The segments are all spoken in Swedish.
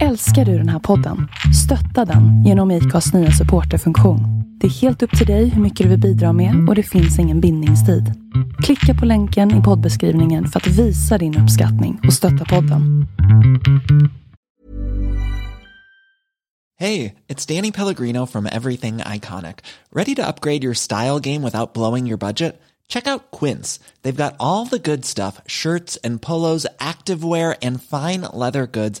Älskar du den här podden? Stötta den genom IKAs nya supporterfunktion. Det är helt upp till dig hur mycket du vill bidra med och det finns ingen bindningstid. Klicka på länken i poddbeskrivningen för att visa din uppskattning och stötta podden. Hey, it's Danny Pellegrino from Everything Iconic. Ready to upgrade your style game without blowing your budget? Check out Quince. They've got all the good stuff shirts and polos, activewear, and fine leather goods,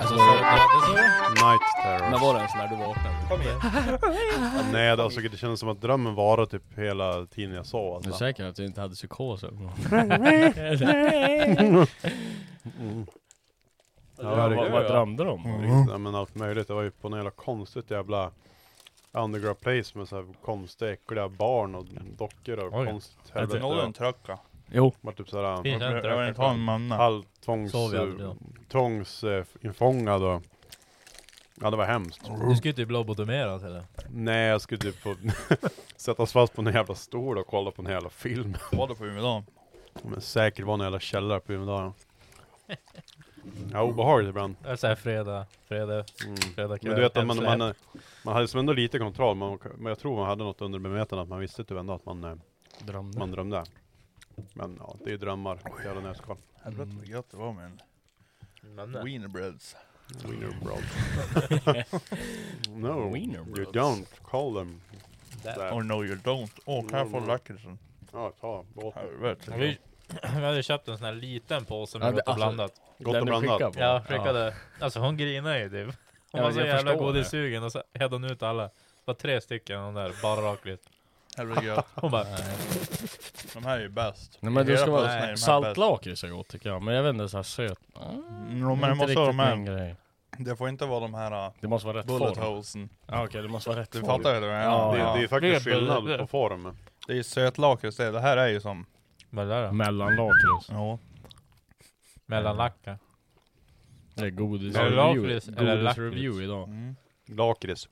Alltså, så, när, Night Terrors. när var det ens när du vaknade? Kom igen. Ja, nej, det, alltså, det kändes som att drömmen varade typ hela tiden jag sov Är du alltså. säker att du inte hade psykos? eller något? Ja, det- vad, vad drömde du om? Ja, men allt möjligt. Det var ju på något jävla konstigt jävla underground place med så här konstiga, äckliga barn och dockor och Mm. Oj. konstigt Är inte helvete. någon tröcka? Jo. Alltså, Det var typ såhär Jag Finns inte. behöver inte ha en manna. halv tvångs, Sov jag aldrig då? tvångs, eh, infångad och Ja det var hemskt. Mm. Du ska ju typ inte bli lobotomerad eller? Nej jag skulle typ få sättas fast på en jävla stol och kolla på en jävla film. Var det på Umeådagen? Men säkert var en jävla källare på Umedalen. Ja, obehagligt ibland. Det är såhär fredag, fredag, Mm. fredag kväll. Men du vet att man, hemsläpp. man, eh, man hade som ändå lite kontroll, man, men jag tror man hade något under medvetandet att man visste typ ändå att man, eh, Drömde. man drömde. Men ja, det är ju drömmar. Jävla nötskal. Helvete vad gött det var med en Mm. wienerbreads. Wiener bros. no, Wiener you bros. don't call them. Or Där. no you don't. Åh, kan jag få Mm. lakritsen? Ja, ta båten. Ja, Helvete. Vi, vi hade köpt en sån här liten påse Ja, med det- gott och alltså- blandat. Gott och Den du skickade blandat. på? Ja, skickade. Alltså hon grinade ju typ. Hon Ja, var så jag jävla förstår det. godissugen och så hade hon ut alla. Det var tre stycken de där barrakligt. Helvete gött. Hon bara De här är ju bäst. Nej men det Hela ska påsen är de här vara bäst. saltlakrits är gott tycker jag, men jag vet inte, såhär söt. Mm, Mm, men det inte måste vara de riktigt min här. grej. Det får inte vara de här uh, Det måste vara rätt bullet form. holesen. Ja okej, det måste vara rätt Du form. fattar ju det? Ja, Det, Ja, det är ja. faktiskt Det är bullet- skillnad på form. Det är ju sötlakrits det. Det här är ju som... Vad är det där då? Mellanlakrits. Ja. Mellanlacka. Det är godis Är det lakrits eller Godis lakrits? review idag. Mm. Lakrits.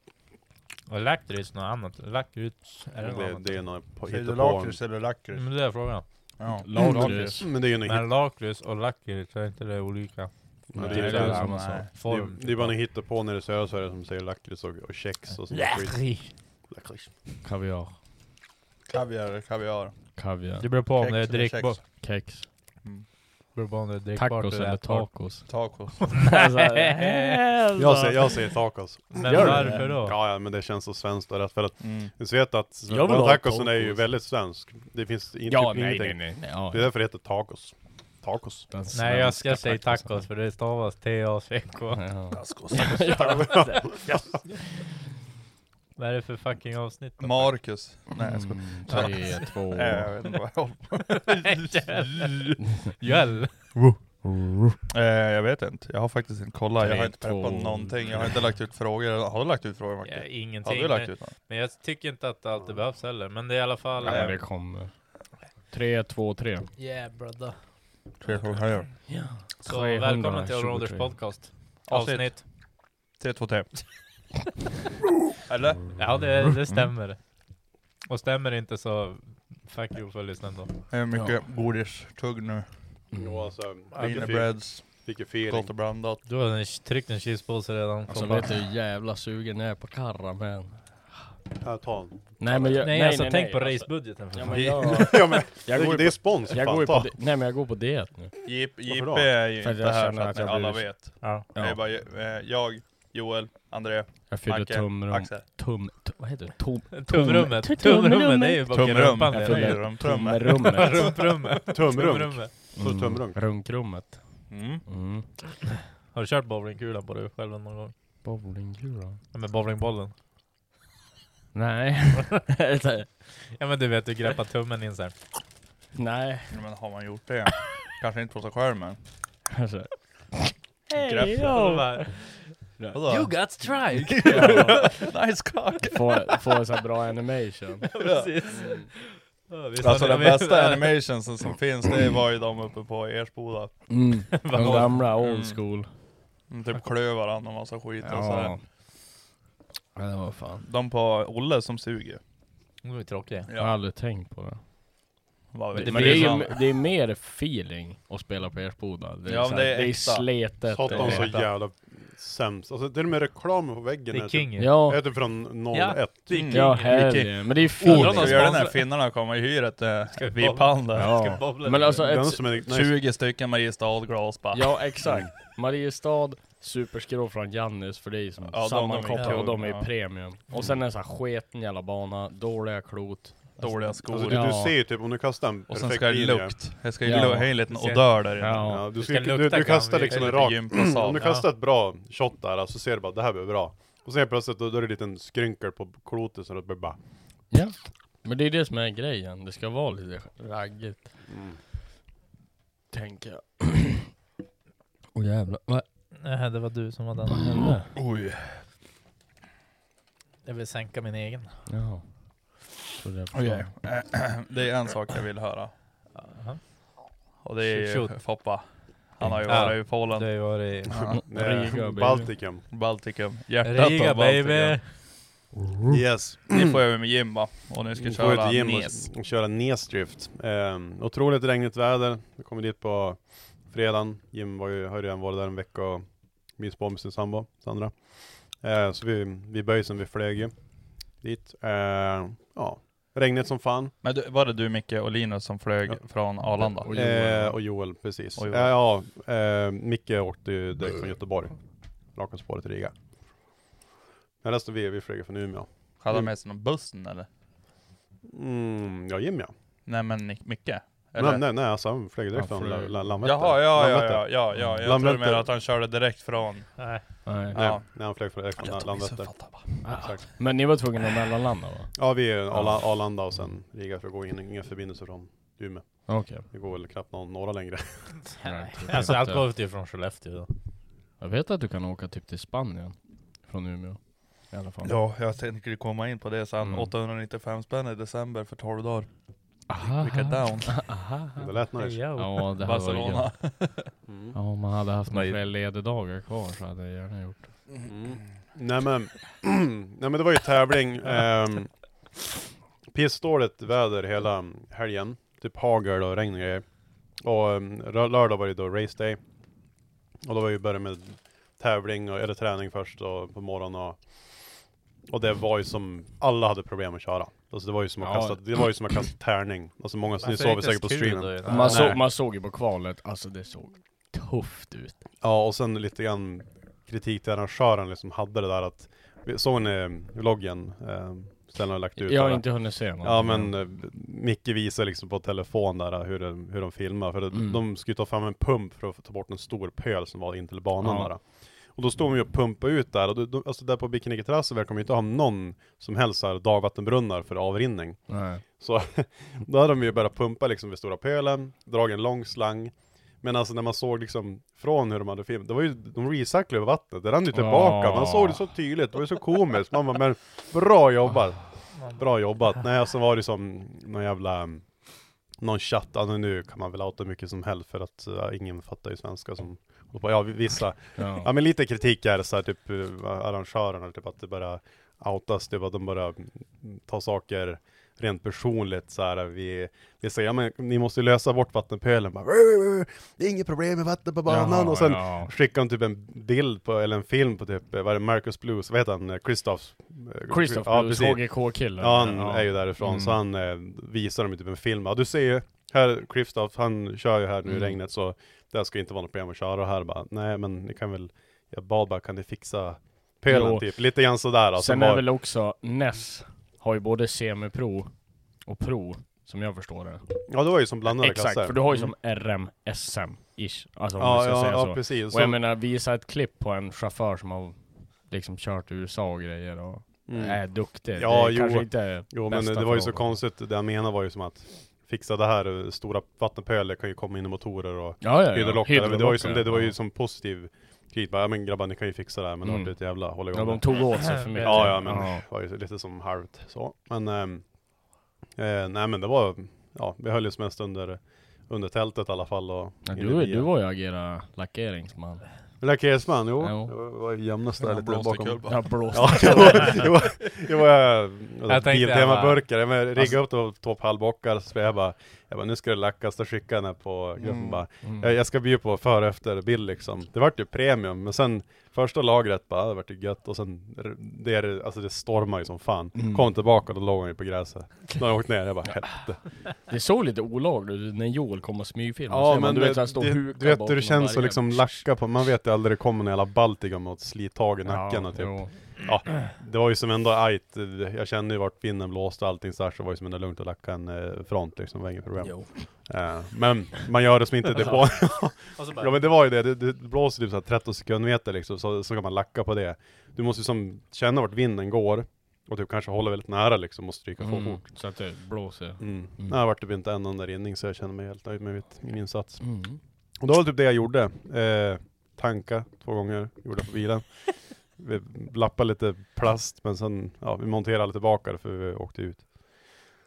Och lakrits något annat. Lakrits är det något Det, annat? det är något på, Säger du hittepå. lakrits eller lakrits? Men det är frågan. Ja. Lakrits. Men det är ju något Men lakrits och lakrits, är inte det olika? Men Nej, det är det ju är så- samma nej. sak. Det är, Form? det är bara typ. ni hittar på när det är södra Sverige som säger lakrits och, och kex och sånt skit. Lakrits. Kaviar, Kaviar eller kaviar? kaviar, Det beror på om det är Kex eller drickbart. kex? kex, Det beror på om det är drickbart tacos eller eller ätbart. tacos. Tacos. Jag säger, jag säger tacos. Men Gör det? varför då? Ja, ja, men det känns så svenskt och rätt för att Mm. du vet att Jag vill svenska ha tacosen är ju tacos. väldigt svensk. Det finns inte Ja, typ nej, nej, ingenting. nej. nej, ja, Det är därför det heter tacos. Tacos. den Nej jag svenska ska säga tacos för det stavas T-A-C-K. Ja. Vad är det för fucking avsnitt? då? Marcus. Nej jag skojar. Mm, Tre, två... Mm. Nej, jag vet inte vad jag håller på Jöll! Eh, Jag vet inte, jag har faktiskt inte kollat, jag Tre, har inte preppat två. någonting, jag har inte lagt ut frågor. Har du lagt ut frågor Ja, Macke? Har Eh, ingenting. du lagt Men, ut något? men jag tycker inte att det alltid behövs heller. Men det är i alla fall... eh, Nej, det kommer. Tre, två, tre. Yeah brother. Tre frågor har jag. Så välkommen till 323. Allrounders podcast. Avsnitt. Avsnitt. Tre, två, tre. Eller? Ja det, det stämmer. Och stämmer det inte så fuck you för lyssnaren då. Det är mycket godis, tugg nu, Mm. Jo, alltså, vilket fe- wienerbreads, vilket gott feeling. och blandat. Du har en- tryckt en cheesepåse redan. Alltså vet du hur jävla sugen jag är på karra men... Ja, ta en. Nej men jag, Nej, alltså tänk på alltså. racebudgeten för Ja, fan. men jag, Ja, men, jag det, går ju det är på, spons jag fan, går ju på, ta. di- nej men jag går på diet nu. J- Varför då? JP är ju För att inte jag här känner för att att ni jag alla blir- vet. Ja. Det är Ja, bara eh, jag, Joel, André, jag fyller Macke, tumrum, Axel. tum, tum, vad heter det? Tum, Tumrummet. Tum- Tumrummet, det är ju bara Tumrum. rumpan. Jag det är ju. fyller Rum- tumrummet. Rumprummet. Tumrunk. Tumrummet. Så tumrunk. Runkrummet. Mm. Mm. Har du kört bowlingkulan på dig själv någon gång? Bowlingkula? Ja, med bowlingbollen? Nej. Ja men du vet, du greppar tummen in såhär. nej. Men har man gjort det? Kanske inte på sig själv men... Alltså. Grepp. Vadå? You got strike! nice cock! Få, få så här bra animation. Precis. Ja, visst Alltså har den ni- bästa animationsen som finns, det var ju de uppe på Ersboda. Mm. De Vadå? gamla Mm. old school. De typ klöv varandra och massa skit och sådär. Ja, det var fan. De på Olle som suger. De är tråkiga. Jag har aldrig tänkt på det. Vad Men vet det, jag. är som- ju, det är mer feeling att spela på Ersboda. Det är, Ja, men så här, det är det är äkta. sletet. Satt de det så är- jävla sämst. Alltså till och med reklamen på väggen Det är king ju. Ja, Är typ från 01. Ja. Det är king. ja Det är helgen. Men det är ju Undrar om feeling. de gör det när finnarna kommer i hyret, eh, vi VIP-handeln. Ska Ja. bobbla Men lite. alltså Den ett, som är nice. 20 stycken Mariestad-glas bara. Ja, exakt. Mariestad, superskrå från Jannis, för det är ju som Ja, de- sammankopplat de är och de är kung, ja. premium. Och sen är det så här sketen jävla bana, dåliga klot. Dåliga skor. Alltså, du, du Ja. ser ju typ om du kastar en och sen perfekt ska det linje. lukt. Det ska ju Ja. ja. en liten odör där inne. Ja. Ja, du, Det ska, ska du, lukta du kastar gammal. liksom Det en är rak... gympasal. Om du kastar ett bra shot där, alltså ser du bara det här blir bra. Och sen helt plötsligt då, då är det en liten skrynkel på klotet så det blir bara... Ja. Men det är det som är grejen, det ska vara lite raggigt. Mm. Tänker jag. Åh jävlar, vad Nej, Eh, det var du som var den. hände? Oj. Jag vill sänka min egen. Jaha. Trodde jag förstod. Okej. Det är en sak jag vill höra. Jaha. Och det är ju Shoot, shoot. Foppa. Han har ju Ja. varit i Du Polen, har ju varit i Ja. Nej, Riga, baby. Baltikum. Baltikum. Hjärtat Riga av Baltikum. baby! Yes. Ni får över med gym va? Och ni ska Vi får ut köra gym och- Nes. och köra nesdrift. Um, otroligt regnigt väder. Vi kommer dit på fredagen. Jim var ju, har ju redan varit där en vecka och mysbomb med sin sambo Sandra. Eh, så vi, vi böjsen, vi flög ju dit. Eh, ja, regnigt som fan. Men du, var det du Micke och Linus som flög Ja. från Arlanda? Och Eh, och Joel, precis. Och Joel. Eh, ja, eh, Micke åkte ju direkt från Göteborg. Raka spåret till Riga. Men resten vi, vi flög från Umeå. Hade han med sig någon bussen eller? Mm, ja, Jim ja. Nej men Nick- Micke? Eller? Nej, nej, nej, alltså han flög direkt Han från flög. la, la, Landvetter. Jaha, ja, ja, Landvetter. ja, ja, ja. Jag Landvetter. tror mer att han körde direkt från... Nej. Nej. Nej, Ja. när han flög från direkt från Landvetter. Ah. Men ni var tvungna att mellanlanda va? Ja, vi är Arla- Arlanda och sen Riga, för det går ingen, inga förbindelser från Umeå. Okej. Det går väl knappt någon, några längre. Alltså allt går ut ju från Skellefteå. Jag vet att du kan åka typ till Spanien. Från Umeå. I alla fall. Ja, jag tänker komma in på det sen. Mm. 895 spänn i december för 12 dagar. Aha. Vilka down. Aha. Det lät nice. Ja. Ja det här var ju gött. Barcelona. Mm. Ja om man hade haft några Nej. fler lededagar kvar så hade jag gärna gjort det. Mm. Nej men, nej men det var ju tävling. Um, Pissdåligt väder hela helgen. Typ hagel och regn och grejer. Och ehm, rö- lördag var det då race day. Och då var ju började med tävling och, eller träning först och på morgonen och och det var ju som, alla hade problem att köra. Alltså det var ju som att Ja. kasta, det var ju som att kasta tärning. Alltså många, ni såg väl säkert på streamen. Man, så- så, man såg ju på kvalet, alltså det såg tufft ut. Ja, och sen lite grann kritik till arrangören liksom hade det där att, vi- såg ni vloggen eh, Stellan har lagt ut? Jag har där? inte hunnit se något. Ja men eh, Micke visar liksom på telefon där eh, hur de, hur de filmar, för det, Mm. de skulle ta fram en pump för att ta bort en stor pöl som var in till banan Ja. där. Och då står de ju och pumpar ut där, och då- då- alltså där på Bikiniketerrassen verkar de inte ha någon som helst så här dagvattenbrunnar för avrinning. Nej. Så då hade de ju börjat pumpa liksom vid stora pölen, dragit en lång slang. Men alltså när man såg liksom från hur de hade filmat, det var ju, de recyclade över vattnet, det rann ju tillbaka, man såg det så tydligt, det var ju så komiskt. Man bara, men bra jobbat! Bra jobbat! Nej, och så var det som någon jävla, um, någon chatt, ja, men nu kan man väl outa mycket som helst för att uh, ingen fattar ju svenska som håller på, ja vissa. Ja Ja. men lite kritik är det så här, typ uh, arrangörerna, typ att det bara outas, typ att de bara mm, tar saker rent personligt så här, vi, vi säger, ja, men ni måste ju lösa bort vattenpölen, bara, "Rrrr, det är inget problem med vatten på banan, Jaha, och sen ja. skickar hon typ en bild på, eller en film på typ, eh, vad är det, Marcus Blues, vad heter han, Eh, Christophs? eh, Christoph ja, Blues, precis. HGK-killen. Ja, han är ju därifrån, Mm. så han eh, visar dem typ en film. Ja, du ser ju, här, Kristoff, han kör ju här nu i Mm. regnet, så det ska inte vara något problem att köra. Och här bara, nej men ni kan väl, jag bad bara, kan ni fixa pölen Jo. typ? Lite grann sådär. Alltså, Sen bara, är väl också, Ness har ju både semiprov och pro, som jag förstår det. Ja, det var ju som blandade Exakt, klasser. för du har ju Mm. som RM, SM, ish. Alltså om man Ja, ska ja, säga ja så. precis. Och jag Så- menar, visa ett klipp på en chaufför som har liksom kört i USA och grejer och Mm. är Äh, duktig. Ja, det är jo. kanske inte Jo men bästa det var ju så förhållanden. konstigt, det jag menar var ju som att fixa det här, eh, stora vattenpölar kan ju komma in i motorer och Ja, ja, ja. hydrolockar. Men det var ju som, det, det var ju ja. som positiv kritik, bara, ja men grabbar ni kan ju fixa det här, men det Mm. vart ett jävla håll Ja, de tog åt sig för mycket. Ja, ja, men det var ju lite som halvt så. Men, ehm, eh, nej men det var, ja, vi höll ju mest under, under tältet i alla fall. Och Ja, in i du, bilen. du var ju agera lackeringsman. Lackeringsman, jo. Jo. Jag var jämnast där Ja, lite blåste bakom. kul bara. Jag blåste. Ja, jag var, jag var, jag var, jag Jag Alltså- var tänkte Biltema-burkar, jag men riggade upp och tog upp halvbockar, så jag bara, jag bara, nu ska det lackas, då skickade jag den här på gruppen Mm, bara, jag, jag ska bjuda på före och efter bild liksom. Det vart ju premium, men sen första lagret bara, det vart ju gött, och sen, det, är, alltså det stormar ju som fan. Mm. Kom tillbaka, då låg hon ju på gräset. Då hade jag åkt ner, jag bara, helvete. Det såg lite olagligt ut när Joel kom och smygfilmade. Ja Så men man, du vet, så här, stå och du, huka du vet bakom hur det känns varje- att liksom lacka på, man vet ju aldrig det kommer en jävla Baltikum och ett slit tag i nacken och typ. jo. Ja, det var ju som ändå ajt, jag kände ju vart vinden blåste och allting så här, så det var ju som ändå lugnt att lacka en eh, front liksom, det var inget problem. Jo. Eh, men man gör det som inte depå. Och så ja men det var ju det, det, det blåser typ så här 13 sekundmeter liksom, så, så kan man lacka på det. Du måste ju som känna vart vinden går, och typ kanske hålla väldigt nära liksom och stryka på Mm, fort. så att det blåser. Mm. Mm. Nej, det vart typ inte en enda rinning så jag känner mig helt nöjd med mitt, min insats. Mm. Och det var typ det jag gjorde. Eh, tanka två gånger, gjorde jag på bilen. Vi lappade lite plast, men sen, ja, vi monterade aldrig tillbaka det för vi åkte ut.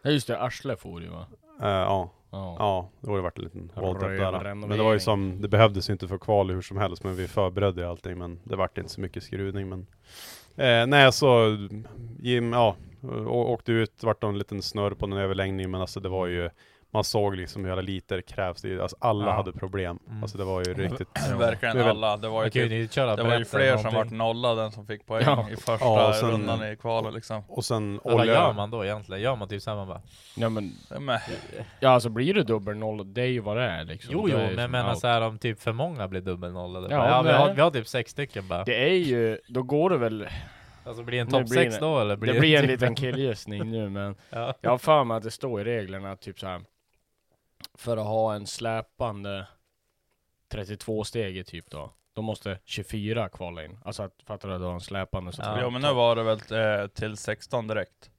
Ja just det, Arsle for ju va? Eh, ja, Ja. ja, då har det varit en liten våldtäkt där. Rövarrenovering. Men det var ju som, det behövdes ju inte för kval hur som helst, men vi förberedde ju allting, men det vart inte så mycket skruvning. Men, eh, nej, så Jim, ja, å- åkte ut, vart en liten snurr på den överlängning, men alltså det var ju, man såg liksom hur alla liter krävs, Det- alltså alla Ja. hade problem. Mm. Alltså det var ju riktigt Verkligen Det är väl- alla. Det var ju, Jag kan ju typ, inte köra det var ju berätta fler som någonting. vart nollade än som fick poäng Ja. i första Ja, och sen- rundan i kvalet liksom. Och sen Ja, Vad gör olja. man då egentligen? Gör man typ såhär man bara Ja men, Ja, men- ja alltså blir det dubbel noll, det är ju vad det är liksom. Jo Det jo, är ju men som jag menar out. såhär om typ för många blir dubbelnollade. Ja, Ja, ja, vi, nej. har, vi har typ sex stycken bara. Det är ju, då går det väl, alltså blir det en Nu topp blir sex det- då eller? det blir en typ- liten killgissning nu men Ja. Jag har för mig att det står i reglerna att typ så här. För att ha en släpande 32 steg typ då. Då måste 24 kvala in. Alltså att, fattar du? att Du har en släpande så ja men nu var det väl eh, till 16 direkt?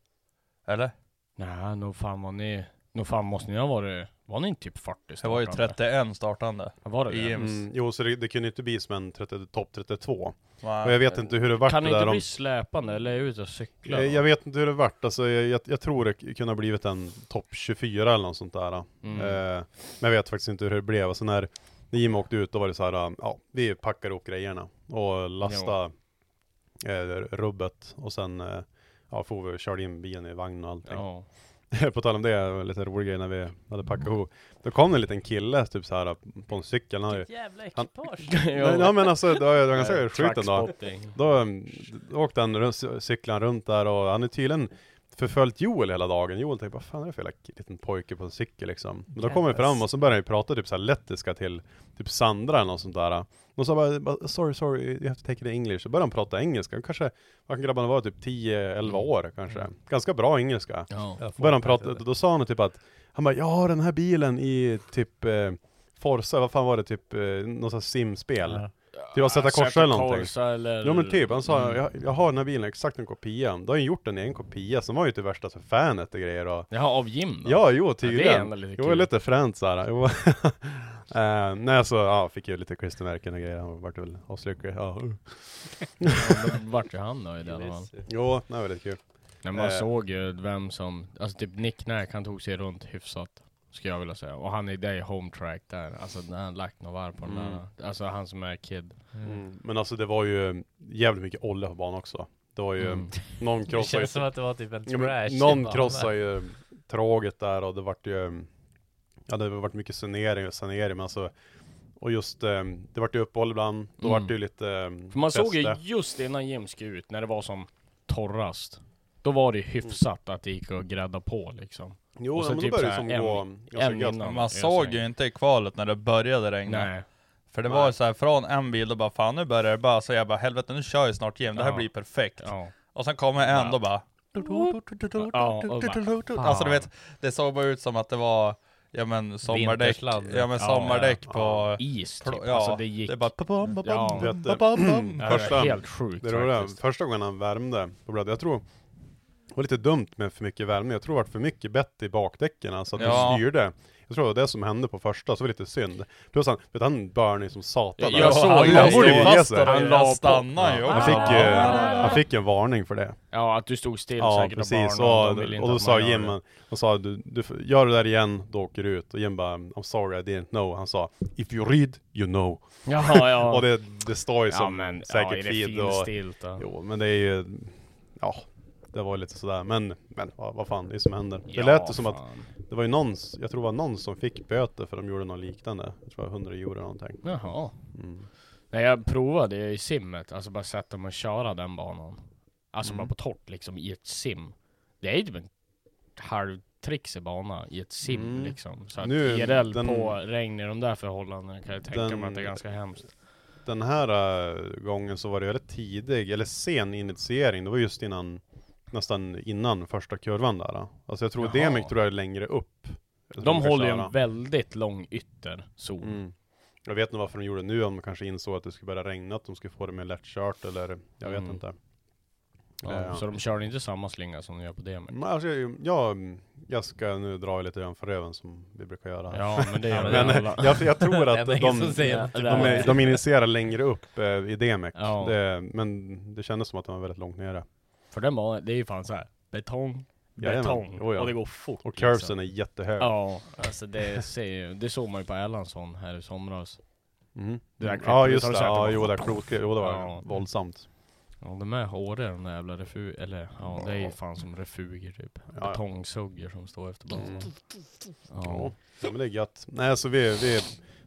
Eller? Nej, nog fan var ni... Nog fan måste ni ha varit... Var ni inte typ 40 Det var ju startande? 31 startande. Ja, Var det i det? gym. Mm, jo, så det, det kunde inte bli som en 30, topp 32. Va? Och jag vet inte hur det vart Kan det det inte där bli om... släpande? Eller är jag ute och cyklar? Jag, jag vet inte hur det vart, alltså jag, jag, jag tror det kunde ha blivit en topp 24 eller något sånt där. Mm. Eh, men jag vet faktiskt inte hur det blev. Alltså när när Jim åkte ut, då var det så här, eh, ja, vi packar ihop grejerna och lasta eh, rubbet och sen eh, ja, får vi och körde in bilen i vagn och allting. Ja. På tal om det, det var lite rolig grej när vi hade packat ihop. Då kom det en liten kille typ så här på en cykel. Han, hade- Jävla Han- ekipage! nej, nej men alltså, det var, det var ganska skjuten då. Eh, Trackspotting. Då um, åkte han runt, cyklade han runt där och han är tydligen förföljt Joel hela dagen. Joel tänkte, vad fan är det för jävla k- liten pojke på en cykel liksom? Men då kommer vi fram och så börjar han ju prata typ såhär lettiska till typ Sandra eller något sånt där. Och så bara, bara, sorry, sorry, you have to take it in English. Så börjar han prata engelska. Och Kanske, vad kan grabbarna vara, typ 10-11 år kanske. Ganska bra engelska. Ja. Då Började han prata, då sa han typ att, han bara, jag har den här bilen i typ eh, Forza, vad fan var det, typ eh, något sånt här simspel. Ja. Typ att sätta korsa eller någonting. Korsa eller... Ja men typ, han sa Mm. jag, jag har den här bilen exakt en kopia. Då har han gjort den i en kopia, som var ju inte värsta för fanet och grejer och Jaha, av gym då? Ja, jo Ja, det är tydligen. ändå lite jo, kul. lite fränt såhär. Jo. Eh, nej så, ja, fick ju lite klistermärken och grejer. Han vart väl aslycklig. Ja. Ja, då Vart ju han nöjd i alla fall. Jo, det var lite kul. Nej, man Eh. såg ju vem som, alltså typ Nick Nack, han tog sig runt hyfsat. Skulle jag vilja säga. Och han är där i home track där. Alltså när han lagt några varv på den Mm. där. Alltså han som är kid. Mm. Mm. Men alltså det var ju jävligt mycket olja på banan också. Det var ju, Mm. någon Det krossade ju, känns som att det var typ en Ja, men trash någon krossade ju tråget där och det vart ju, ja det vart mycket sanering, sanering men alltså, och just, eh, det vart ju uppehåll ibland, då Mm. vart det ju lite eh, För man såg ju fäste. just innan Jim skulle ut, när det var som torrast. Då var det ju hyfsat att det gick att grädda på liksom. Jo, och och så sen men typ typ det började så som här gå en- ganska en gött. innan. Man jag såg säger. ju inte i kvalet när det började regna. Nej. För det var ju så här från en bil och bara fan nu börjar det bara, så jag bara helvete nu kör jag snart igen, det här Ja. blir perfekt. Ja. Och sen kommer en då bara Ja, och bara, Alltså du fan. vet, det såg bara ut som att det var Ja men sommardäck, Vintersladd. ja men Ja, sommardäck ja, på Is typ. pl- ja, alltså det gick. är bara pa-pam, pa-pam, Ja. Vet du, pa-pam, pam. Ja, det var Första- helt sjukt Det roliga, faktiskt. första gången han värmde, då blev det, jag tror, det var lite dumt med för mycket värme, jag tror det var för mycket bett i bakdäcken, alltså att Ja. det styrde. Jag tror det var det som hände på första, så det var lite synd. Plus han, vet du, han börnade ju som satan. Jag såg han, ju- han jag borde såg ju ju- fast där, han han, la på. stannade ju Han också. fick eh, ju, han fick ju en varning för det. Ja, att du stod still Ja säkert precis, och barnen, och, de ville inte och då att man sa gör Jim, det. han han sa du, du, får- gör det där igen, då åker du ut. Och Jim bara, I'm sorry I didn't know. Han sa, if you read, you know. Jaha, ja. Och det, det står ju som ja, men, ja, är säkert det feed och, finstilt då? Jo, men det är ju, ja, det var ju lite sådär, men, men vad, vad fan, det är som händer. Det Ja, lät ju som att, fan. det var ju någon, jag tror det var någon som fick böter för de gjorde något liknande. Jag tror det var 100 euro eller någonting. Jaha. Mm. När jag provade i simmet, alltså bara sätta mig och köra den banan. Alltså Mm. bara på torrt liksom i ett sim. Det är ju typ en halvtrixig bana i ett sim Mm. liksom. Så att Nu, IRL den- på regn i de där förhållandena kan jag tänka mig att det är den- ganska hemskt. Den här äh, gången så var det väldigt tidig, eller sen initiering, det var just innan, nästan innan första kurvan där. äh. Alltså jag tror Jaha. Demek tror jag är längre upp. Jag tror De kanske håller ju där, en väldigt lång ytterzon. äh. mm. Jag vet inte varför de gjorde det nu, om de kanske insåg att det skulle börja regna, att de skulle få det mer lättkört eller, jag vet Mm. inte. Ja, Eh, så de kör inte samma slinga som de gör på DMX. Men alltså, jag, jag, jag ska nu dra lite grann för röven som vi brukar göra. Ja men det gör men väl Men alla. eh, jag, jag tror Det är att de, ingen som de, säger något. Ja, det där de, var- de initierar längre upp eh, i Demek. Ja. Det, men det kändes som att de var väldigt långt nere. För den banan, det är ju fan så här betong, Jajamän. betong. Oh, ja. Och det går fort. Och curvesen liksom. är jättehög. Ja, alltså det ser ju, det såg man ju på Erlandsson här i somras. Mhm. Det där ja klippet just har det, du sett, det ja, var- jo det, klok, jo, det var Ja. våldsamt. Ja de är håriga de där jävla refu... eller ja det är ju fan som refuger typ. Ja, ja. Betongsugger som står efter banan. Mm. Ja. Ja. ja men det är gött. Nej så vi, vi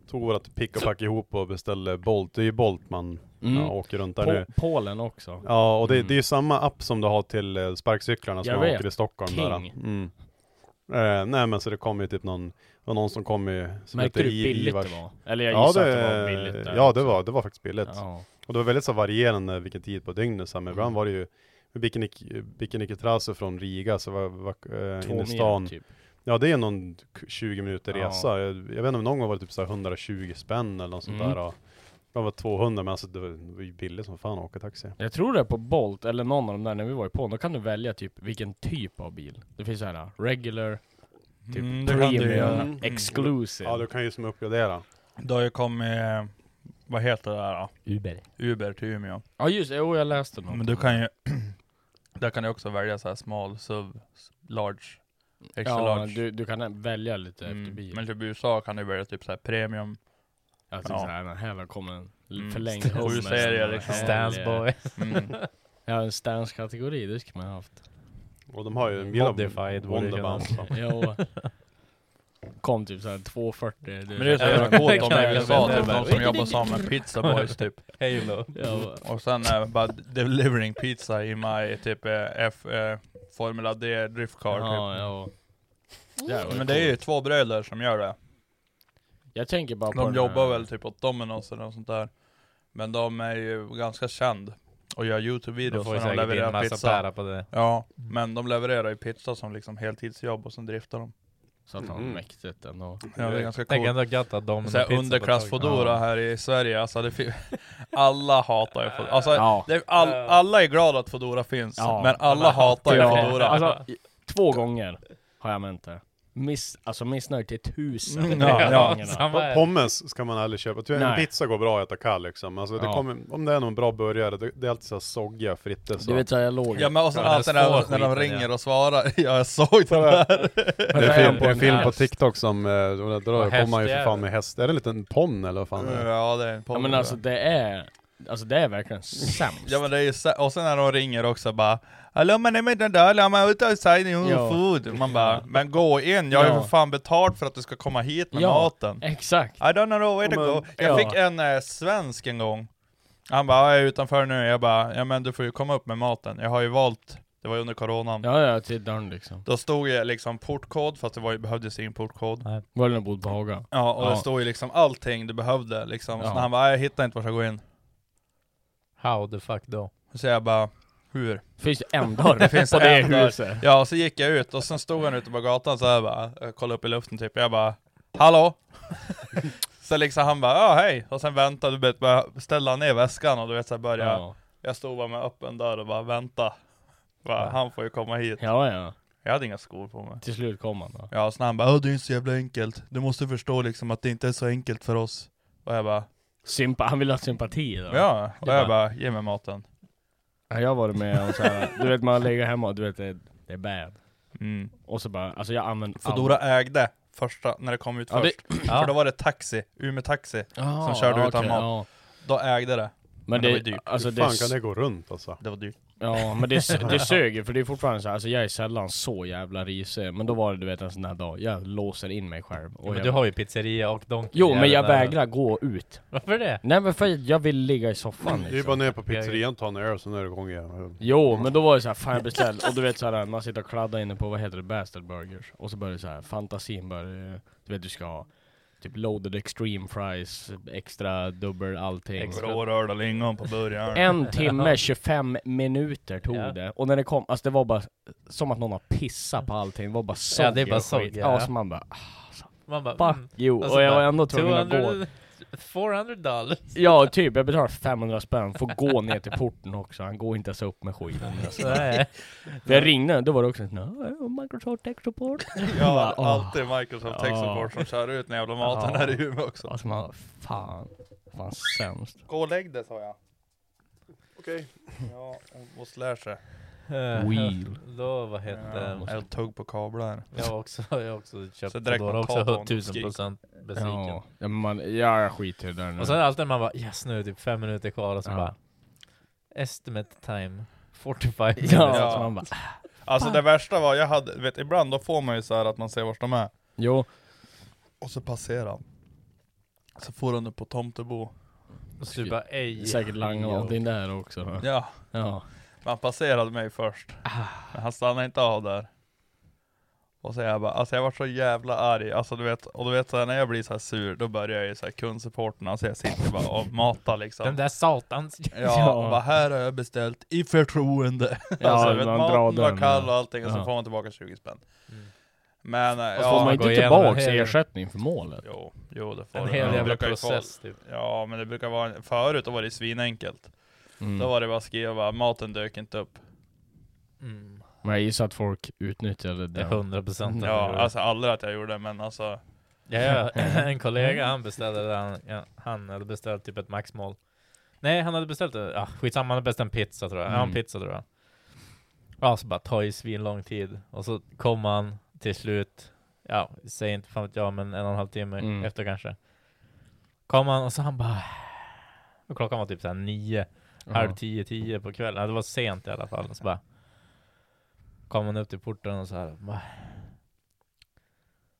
tog vårat pick och pack ihop och beställde Bolt. Det är ju Bolt man Mm. ja, åker runt där nu. Po- Polen också. Ja och det, Mm. det är ju samma app som du har till eh, sparkcyklarna som Jag man vet. åker i Stockholm där. King. Mm. Eh, nej men så det kom ju typ någon, det var någon som kom i, som Märkte heter du I- hur billigt Ivars. det var? Eller jag Ja gissar det, att det var billigt där ja det också. var, det var faktiskt billigt. Ja. Mm. Och det var väldigt så varierande vilken tid på dygnet så här, men ibland var det ju Bikini Trasse från Riga, så var, var eh, Två inne i mil stan. typ. Ja det är någon k- 20 minuter Ja. resa. Jag, jag vet inte om någon gång var det typ så här 120 spänn eller något sånt Mm. där. Och, det var 200 men alltså det var, det var ju billigt som fan att åka taxi. Jag tror det är på Bolt, eller någon av de där när vi var i Polen, då kan du välja typ vilken typ av bil. Det finns såhär regular, typ Mm, det kan du premium, göra. exclusive. Ja du kan ju som uppgradera. Det har ju kommit, eh, vad heter det där då? Uber. Uber till Umeå. Ja just det, jo jag läste något. Men du kan ju, där kan du också välja så här small, sub, large, extra Ja, large. du, du kan välja lite efter Mm. bil. Men typ i USA kan du välja typ så här premium. Jag Ja. tycker såhär, den Alltså, här kommer en Mm. förlängd Stor hummer. serie, liksom. Eh, Stansboy. Mm. Ja, en stance-kategori, det skulle man ha haft. Och de har ju en del av Modified borde det kunna Wonderbounce. va? Jo. Kom typ såhär 240. Men det är så Ja, jävla det coolt kan om i jag USA, väl typ välja. de som jobbar som en pizza boys typ. Halo. Ja, Och sen eh, bara delivering pizza i my typ eh, F, eh, Formula D driftcar ja, typ. ja. Jävlar, Men det är ju coolt. två bröder som gör det. Jag tänker bara på De den jobbar här- väl typ åt Domino's eller något sånt där. Men de är ju ganska känd och gör Då Youtube-videos får vi när de säkert in levererar massa pizza. pära på det. Ja, men de levererar ju pizza som liksom heltidsjobb och sen driftar de. Så att han Mm. mäktigt ändå. Ja, det är ganska Tänk coolt. ändå gött att de... Såhär underklass-Foodora här i Sverige, alltså det fin- alla hatar ju Foodora. Alltså, Ja. det, all, alla är glada att Foodora finns, Ja. men alla hatar ju Ja, Foodora. Alltså, i- två gånger har jag mänt det. Miss, alltså missnöjd till tusen. Mm, ja, ja. gångerna. Po- Pommes ska man aldrig köpa. Tyvärr, en Nej. pizza går bra att äta kall liksom. Alltså, det Ja. kommer, om det är någon bra burgare, det, det är alltid så här soggiga fritter. Så. Du vet såhär, jag låg Ja men alltså, och sen Ja, alltid den när, svåra när de skiten, ringer och svarar, ja jag såg den där! Det Där är är film, han på det är en en film på häst. TikTok som, eh, då då Och kommer man ju för hästjävel. Eh, fan med häst. Är det en liten ponn eller vad fan är det? Ja det är en Ja podd. men alltså det är, Alltså det är verkligen sämst. Ja men det är ju så, och sen när de ringer också bara Hallå men är inte där, I'm out outside your Ja. food Man bara, men gå in, jag har ju Ja. för fan betalt för att du ska komma hit med Ja, maten Exakt. I don't know where to Ja, men- go Jag ja. fick en eh, svensk en gång Han bara, "Ja, jag är utanför nu, jag bara, ja men du får ju komma upp med maten Jag har ju valt, det var ju under coronan Ja, ja, till dörren liksom. Då stod ju liksom portkod, fast det var ju, behövdes ingen portkod Var det när jag bodde på Haga? Ja, och Ja. det stod ju liksom allting du behövde liksom Så Ja. när han bara, "Ja, jag hittar inte vart jag går in How the fuck då? Så jag bara, hur? Finns det en dörr Det finns på en det dörr. huset? Ja, och så gick jag ut och sen stod han ute på gatan så här bara, jag kollade upp i luften typ, jag bara Hallå? så liksom han bara, ja hej! Och sen väntade, du vet, bara ställde han ner väskan och du vet så här började, Ja, jag stod bara med öppen dörr och bara vänta bara, Han får ju komma hit. ja. ja. Jag hade inga skor på mig. Till slut kom han då. Ja, och sen han bara, "Ja, det är inte så jävla enkelt. Du måste förstå liksom att det inte är så enkelt för oss. Och jag bara, Sympa, han ville ha sympati då. ja. Och Det jag bara, ge mig maten. Ja, Jag har varit med om såhär, du vet man lägger hemma och du vet det, det är bad. Mm. Och så bara, alltså jag använder Foodora ägde första, när det kom ut Ja, det- först. För då var det taxi, Umeå Taxi. Ah, som körde ja, utan okej, mat. Ja. Då ägde det. Men det var ju det, dyrt. alltså Hur det, fan kan det gå runt alltså? Det var dyrt. ja men det, det sög ju för det är fortfarande såhär, alltså jag är sällan så jävla risig. Men då var det du vet en sån här dag, jag låser in mig själv. Och men jag, du har ju pizzeria och Donken. Jo men jag jävla- vägrar gå ut. Varför det? Nej men för jag vill ligga i soffan Det är ju liksom. bara ner på pizzerian, ta en öl, sen är det igång igen. Jo, men då var det så här, fan jag beställde, och du vet såhär, man sitter och kladdar inne på, vad heter det, Bastard Burgers? Och så börjar det så här, fantasin börjar, du vet du ska ha typ loaded extreme fries, extra dubbel allting. Grårörda lingon på burgaren. En timme, 25 minuter tog Ja. det. Och när det kom, alltså det var bara som att någon har pissat på allting, det var bara sogg Ja, det är bara och skit. sogg, ja. Ja, så man bara, ah, Man bara, fuck mm, you. alltså och jag bara, var ändå tvungen att gå. 200, 400 dollar. Ja, typ, jag betalade 500 spänn, får gå ner till porten också, han går inte ens upp med skiten. alltså. Nej. För jag ringde, då var det också en sån här, "Oh, Microsoft Tech Support. Jag har Bara, åh. alltid Microsoft Tech Ja. Support som kör ut den jävla maten Ja. här i Umeå också. Alltså man, fan. Fan sämst. Gå och lägg dig sa jag. Okej. Ja, hon måste lära sig. Eh, Wheel. Då, vad heter Ja, det? jag tugg på kablar. Jag har också, jag har också köpt Så direkt Foodora man tar på också, en tusen skrik. procent besviken. Ja, ja, men man, ja, jag skiter i det där nu. Och sen alltid när man bara yes nu är det typ fem minuter kvar och så Ja. bara Estimate time 45 minutes. ja, Ja. Så man bara, Alltså det värsta var, jag hade, vet ibland då får man ju så här att man ser vart de är. jo. Och så passerar han. Så får han upp på Tomtebo. Och så du bara ej. Säkert langa jo. någonting där också. då. Ja, Ja. men han passerade mig först. Men han stannade inte av där. Och så jag bara, alltså jag var så jävla arg, alltså du vet, och du vet så här, när jag blir så här sur, då börjar jag ju så här kundsupporten, alltså jag sitter bara och matar liksom. Den där satans. Ja, och bara här har jag beställt i förtroende. Ja, alltså, vet, man maten drar var den, kall och allting, och så ja. får man tillbaka 20 spänn. Mm. Men, eh, Får man ja. inte gå igenom tillbaks en hel- ersättning för målet? Jo, jo det får En du. hel Det jävla brukar ju få- process typ. Ja, men det brukar vara, förut då var det svinenkelt. Mm. Då var det bara att skriva, maten dök inte upp. Mm. Men jag gissar att folk utnyttjade Det är det. 100 procent. Ja, alltså aldrig att jag gjorde det, men alltså. Ja, ja. En kollega han beställde det, han, ja, han hade beställt typ ett maxmål. Nej, han hade beställt, det. ja, skitsamma, han hade beställt en pizza tror jag. Ja, en Mm. pizza tror jag. Ja, så bara tar ju svin lång tid. Och så kom han till slut, ja, säg inte fan vet jag, men en och en halv timme Mm. efter kanske. Kom han och så han bara, och klockan var typ såhär nio, halv tio, tio på kvällen. Ja, det var sent i alla fall. Och Så bara kom han upp till porten och så här, bara,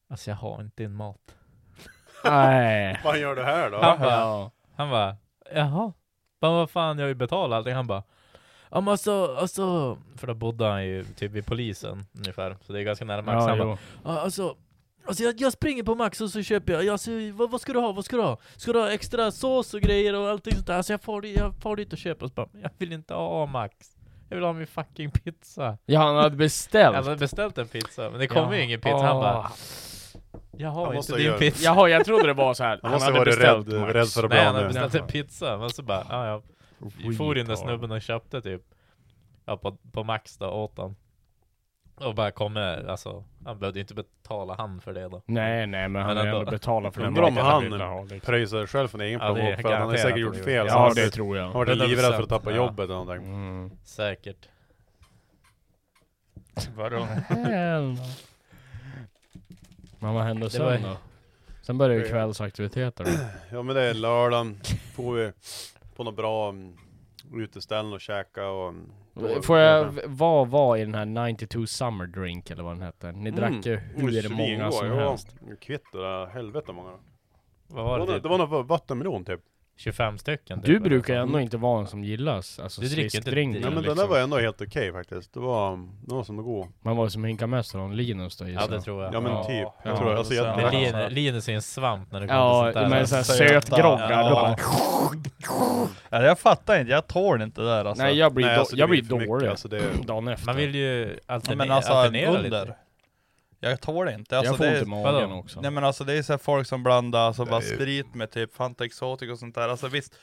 alltså jag har inte din mat. Nej. Vad gör du här då? Han bara, Ja. han bara jaha? Bara, vad fan, jag har ju betalat allting. Han bara Ja men alltså, alltså, för då bodde han ju typ vid polisen ungefär, så det är ganska nära Max. Ja, han bara, jo. "Ja, alltså, alltså jag, jag springer på Max och så köper jag, jag alltså, vad, vad ska du ha, vad ska du ha? Ska du ha extra sås och grejer och allting sånt där? Alltså jag far, dit- jag far dit och köper och så bara, jag vill inte ha Max. Jag vill ha min fucking pizza. ja, han hade Jag beställt. hade beställt en pizza, men det kom ju Ja. ingen pizza. Han bara, Ah. jag har Han inte måste din göra- pizza. Jaha, jag trodde det var så här. Han Han, måste ha hade varit rädd, beställt Max. rädd för att Nej han bra hade nu. beställt en Jaha. pizza, men så bara, ja, ja Oh, Vi for in där snubben och köpte typ ja, på, på Max då åt han. Och bara kom med, alltså han behövde ju inte betala han för det då. Nej, nej, men han Men hade ändå. ändå betalat för den Undrar om maten han- ville ha, liksom. Pröjsar själv från egen Ja, det är plånbok, för han har garanterat säkert att gjort det fel. så han Ja, har det tror jag. han har varit 100%, livrädd för att tappa ja. jobbet eller någonting. Mm. Säkert. Vadå? Men vad hände Det sen var- då? Sen började ju kvällsaktiviteter. då. Ja men det är lördagen, får vi på något bra mm, uteställen och käka och... mm, då- Får jag, v- vad var i den här 92 Summer Drink eller vad den hette? Ni Mm. drack ju hur svingod, många som ja. helst. Kvitt det där, helvete många. Vad Det var var, det? det, Typ? det var något vattenmelon typ. 25 stycken? Du typ, eller brukar ju så. ändå inte vara en som gillas, alltså Du dricker inte sliskdrinken drick. Nej men den där liksom. var ändå helt okej faktiskt. Det var, den var som det går. Man var ju som Hinkamästaren, Linus då Ja det tror jag. Ja men Ja, typ. ja, Jag tror det. Alltså, jag, det Men är jag, Linus, Linus är en svamp när det kommer Ja, till sånt där. men såhär Söta. söt groggar, Ja. då bara... Ja, jag fattar inte, jag tål inte det där alltså. Nej jag blir, nej, då, alltså, det jag blir blir för mycket, dålig alltså, det- dagen efter. Man vill ju Ja, alterne- men alltså alternera under. lite. Jag tål inte. jag Alltså, får det ont är, i magen vadå? också. Nej men alltså det är så här folk som blandar alltså bara sprit med typ Fanta Exotic och sånt där. Alltså visst,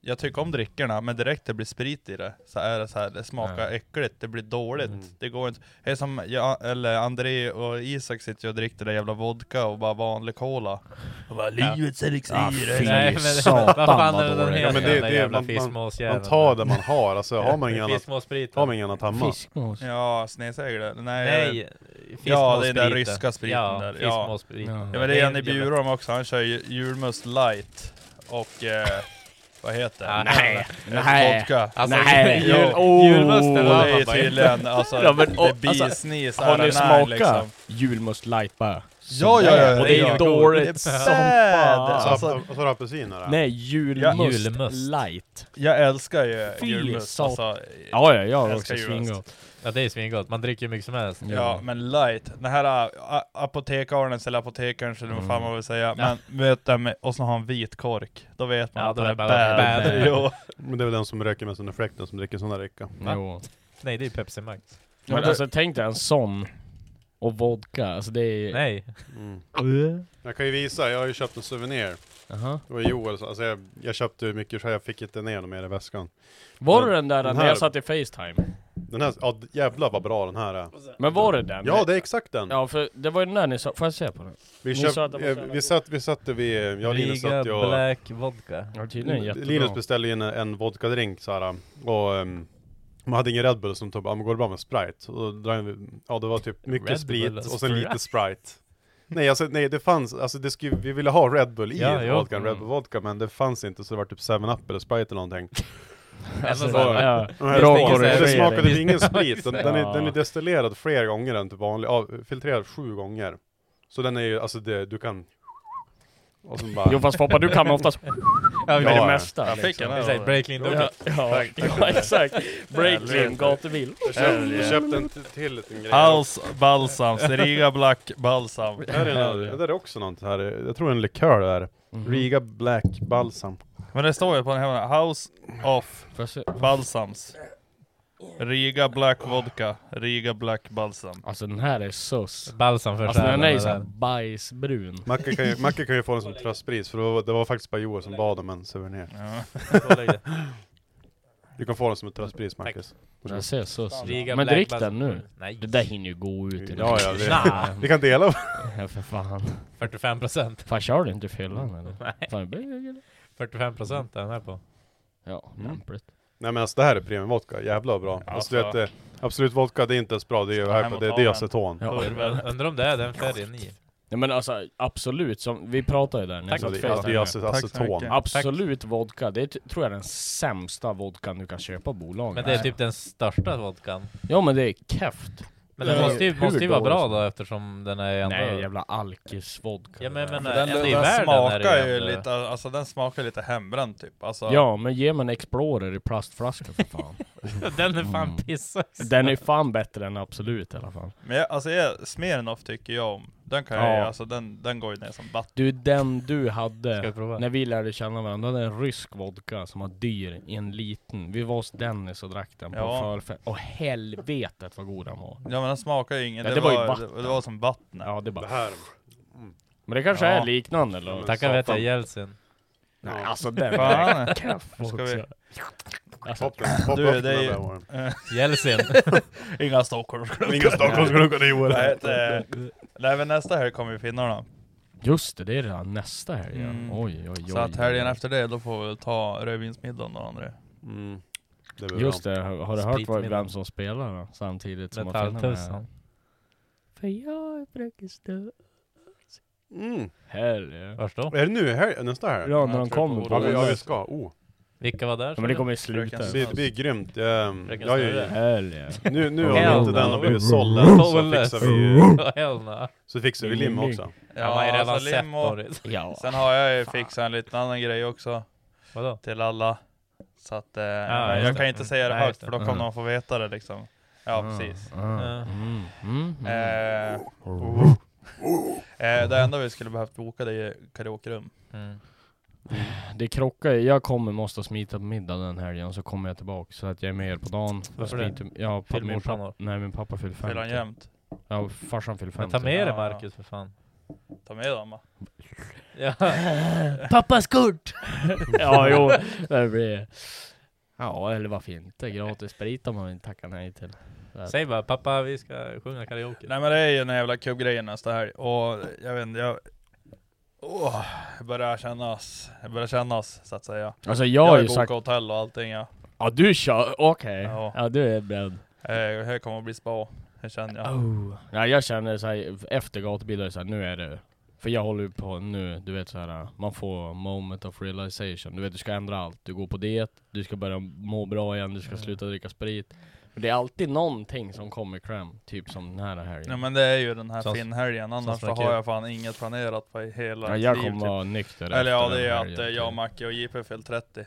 jag tycker om drickorna, men direkt det blir sprit i det så är det så här, det smakar Nej. äckligt, det blir dåligt. Mm. Det går inte. Det är som jag, eller André och Isak sitter ju och dricker det där jävla vodka och bara vanlig cola. Och bara, livets Ah, elixir. Nej. fy. Nej men satan, vad fan vad är den dålig. här Ja, men det- jävla det- jävla man- man- fiskmåsjäveln? man tar det man har, alltså har man inget annat, Fiskmåsspriten. har man inget annat hemma. Fiskmås. Ja, snesäger det? Nej. jag Nej, Ja, det är den där fiskmåsspriten. ryska spriten ja, där. Ja. Fiskmåsspriten. Ja. Ja men det är en i en jävla- Bjurån också, han kör ju julmust light och eh, vad heter det? Nej. Nej. Vodka. Alltså, Nej! jul- Jo. Åh. julmusten, Och va? det är tydligen alltså, Ja, men, och, the bees alltså, knees Har are ni nine, smakat liksom. julmust light bara? Ja, ja, ja, Och ja, det är ja. ju dåligt Det som är bad. fan. Alltså, Alltså, och så har du apelsiner där. Nej, julmust, Julmust. light. Jag älskar ju Fy julmust satan. alltså, Ja, ja, jag har Älskar också julmust. svingott. Ja det är svingott, man dricker ju mycket som helst. Ja men light, den här ä, apotekarens eller apotekarens eller vad fan man vill säga Men vet du, med- och så har han vit kork Då vet man Ja, att då det är är det bara- bad, bad. Jo. Men det är väl den som röker mest under fläkten som dricker sån där dricka. Jo. Nej det är Pepsi Max. Men alltså tänk dig en sån och vodka, alltså det är... Nej. Mm. Jag kan ju visa, jag har ju köpt en souvenir. Jaha. Det var Joel, som- alltså jag, jag köpte ju mycket så jag fick inte ner dem mer i väskan. Var Men det den där den när här- jag satt i Facetime? Den här, ja jävlar vad bra den här är. Men var Alltså, det den? Ja det är exakt den! Ja, för det var ju den där ni sa, får jag se på den? vi, ni köpt, sa att den var eh, så jävla vi, god. satt, vi satt vi, jag och Linus Riga satt ju och Black Vodka. Alltså, Ja, tydligen jättebra. Linus beställde ju en, en vodkadrink såhär och um, man hade ingen Red Bull som tog, ja men går det bra med Sprite? Och då, drar vi- ja det var typ mycket Red Bull sprit och och sen lite Sprite. Sprite Nej alltså nej det fanns, alltså det skulle, vi ville ha Red Bull i Ja, jo. vodkan, Red Mm. Bull vodka men det fanns inte så det var typ 7-Up eller Sprite eller någonting Alltså, Ja, ja. Nej, Bra det smakade- Det korrigering. smakade det är ingen sprit, den, den, Ja. är, den är destillerad fler gånger än typ vanlig, ja, filtrerad sju gånger Så den är ju, alltså det, du kan Och sen bara Jo fast Foppa, du kan oftast Ja, med det ja. mesta. Jag fick liksom. en Vi säger här Breakling Ja, Vodka. ja, ja exakt. Breakgym, gatubil. Jag köpte, jag köpte en t- till liten grej House Balsam, Riga Black Balsam Här är en, det där är också något här, jag tror en likör där. Mm. Riga Black Balsam. Men det står ju på den här House of Får jag se? Balsams. Riga Black Vodka, Riga Black Balsam. Alltså den här är sus. Balsam för Alltså den är ju såhär själen. bajsbrun. Macke kan, ju, Macke kan ju få den som tröstpris, för det var, det var faktiskt bara Joel som bad om en souvenir. Du kan få den som ett tröstpris Marcus. Den ser sus Riga Men Black drick Balsam. den nu. Nej. Det där hinner ju gå ut idag. Ja, ja, det- Nah. Vi kan dela. Ja för fan. 45 procent. Fan kör du inte i fyllan eller? Nej. Fan, det blir- 45 procent är den här på. Ja, lämpligt. Nej men alltså det här är premiumvodka, jävla vad bra. Ja, alltså du vet, eh, Absolut vodka det är inte ens bra, det är ju hem här och det, ta det är den. aceton. Ja. Undrar om det är den färgen i. Nej men alltså absolut, som, vi pratade ju där när jag Alltså, satt i det, det är Facetime. ace- Tack så aceton. mycket. Absolut vodka, det är, t- tror jag är den sämsta vodkan du kan köpa bolaget. Men det är typ den största vodkan. Ja men det är keft. Men den Ja. måste ju, Hur måste ju vara dålig bra som- då eftersom den är ändå... Nej jävla alkisvodka. Ja men, men För Den, ändå den, i världen är det smakar ju ändå- lite, alltså den smakar lite hembränd typ. Alltså, Ja men ge mig en Explorer i plastflaska för fan. Den är fan pissös. Mm. Den är fan bättre än Absolut i alla fall. Men jag, alltså jag, Smirnoff tycker jag om. Den kan Ja. jag ju, alltså den, den går ju ner som vatten. Du den du Ska hade jag prova? när vi lärde känna varandra, det är en rysk vodka som var dyr i en liten. Vi var hos Dennis och drack den på Ja. förfest. Och helvetet vad god den var. Ja men den smakar ju inget, Ja, det, det var ju var, vatten. det, det var som vatten. Ja det Det bara. här, Men det kanske Ja. är liknande eller? Tackar vet jag Satan. Jeltsin. Nej alltså den Fan. kaff Ska också. vi- Alltså, toppen, toppen. Du, det är ju- ju... Jeltsin. Inga Stockholmsklunkar. Inga Stockholmsglunkar det är Joel. Vad heter det? Nej men nästa helg kommer ju finnarna. just det, det är redan nästa helg ja. Mm. Oj oj oj. Så att helgen efter det, då får vi väl ta rödvinsmiddagen då André. Mm. Det blir Just bra. det, har har du hört vad, Spritmiddag. vem som spelar då? Samtidigt som att finnarna är här? Metalltussen. För jag brukar stå... Mm. Helg. Vars då? Är det nu? Här, nästa här? Ja när de jag tror kommer på på Ja vi, ja, vi OS. ska, oh. Vilka var där? Men det kommer i slutet. Fröken- Det, det blir grymt. Ehm, Jag, Fröken jag, Snurre. Hell yeah. nu, nu Hell om inte den no. har blivit sållad så Sållad. fixar vi ju, Hell no. så fixar vi lim också. Ja, man har ju redan alltså, sett lim och, Doris. Ja. Sen har jag ju fixat en liten annan grej också Vadå? till alla. Så att eh, Ja, just jag kan det. inte säga det Nej, högt just det. för Mm. då kommer någon få veta det liksom. Ja, precis. Ah. Ja. Mm. Mm. oh. Eh, Oh. eh, det enda vi skulle behövt boka det är karaokerum. Mm. Det krockar ju. Jag kommer måste smita på middag den helgen, så kommer jag tillbaka. Så att jag är med er på dagen. Varför Jag smiter- Ja, för att min morsan pappa, år? nej min pappa fyller Fyller han 50. jämt? Ja, farsan fyller Men 50. ta med dig Ja, ja. Marcus för fan. Ta med dem va? Ja. Pappas kort! ja, jo. Det blir... Ja, eller varför inte? Gratis sprit om man inte tackar nej till. Säg bara pappa vi ska sjunga karaoke. Nej men det är ju den här jävla kubgrejen nästa helg och jag vet inte, jag... Åh, det börjar kännas, det börjar kännas så att säga. Alltså jag, Jag har har ju bokat sagt... hotell och allting ja. Ja, du kör? Okej. Ja. Ja, du är beredd. Eh, Det kommer att bli spa, det känner jag. Oh. Ja, jag känner så här, efter gatubil, är det så här, nu är det... För jag håller ju på nu, du vet så här, man får moment of realization. Du vet, du ska ändra allt. Du går på diet, du ska börja må bra igen, du ska sluta dricka sprit. Men det är alltid någonting som kommer i kläm, typ som den här helgen. Nej men det är ju den här Sånt- finnhelgen, annars sånt så som är har kul. jag fan inget planerat på hela ja, mitt jag liv, kommer typ. vara nykter Eller ja, efter det är den att helgen, eh, jag, typ. Macke och JP fyllde 30.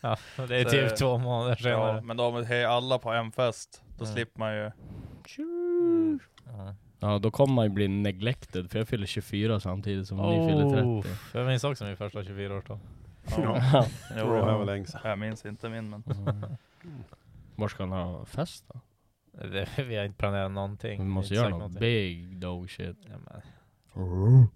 Ja, det är Så- typ två månader Ja, senare. men då med he- alla på en fest, då Mm. slipper man ju... Ja. Ja, då kommer man ju bli neglected, för jag fyller 24 samtidigt som ni fyller 30. Oof. Jag minns också min första 24-årsdag. Ja, Ja. Det jo, var ja. väl längst. Jag minns inte min men... Var ska han ha fest då? Det- Vi har inte planerat någonting. Vi Inte måste göra sagt något någonting. big dog shit. Ja, men.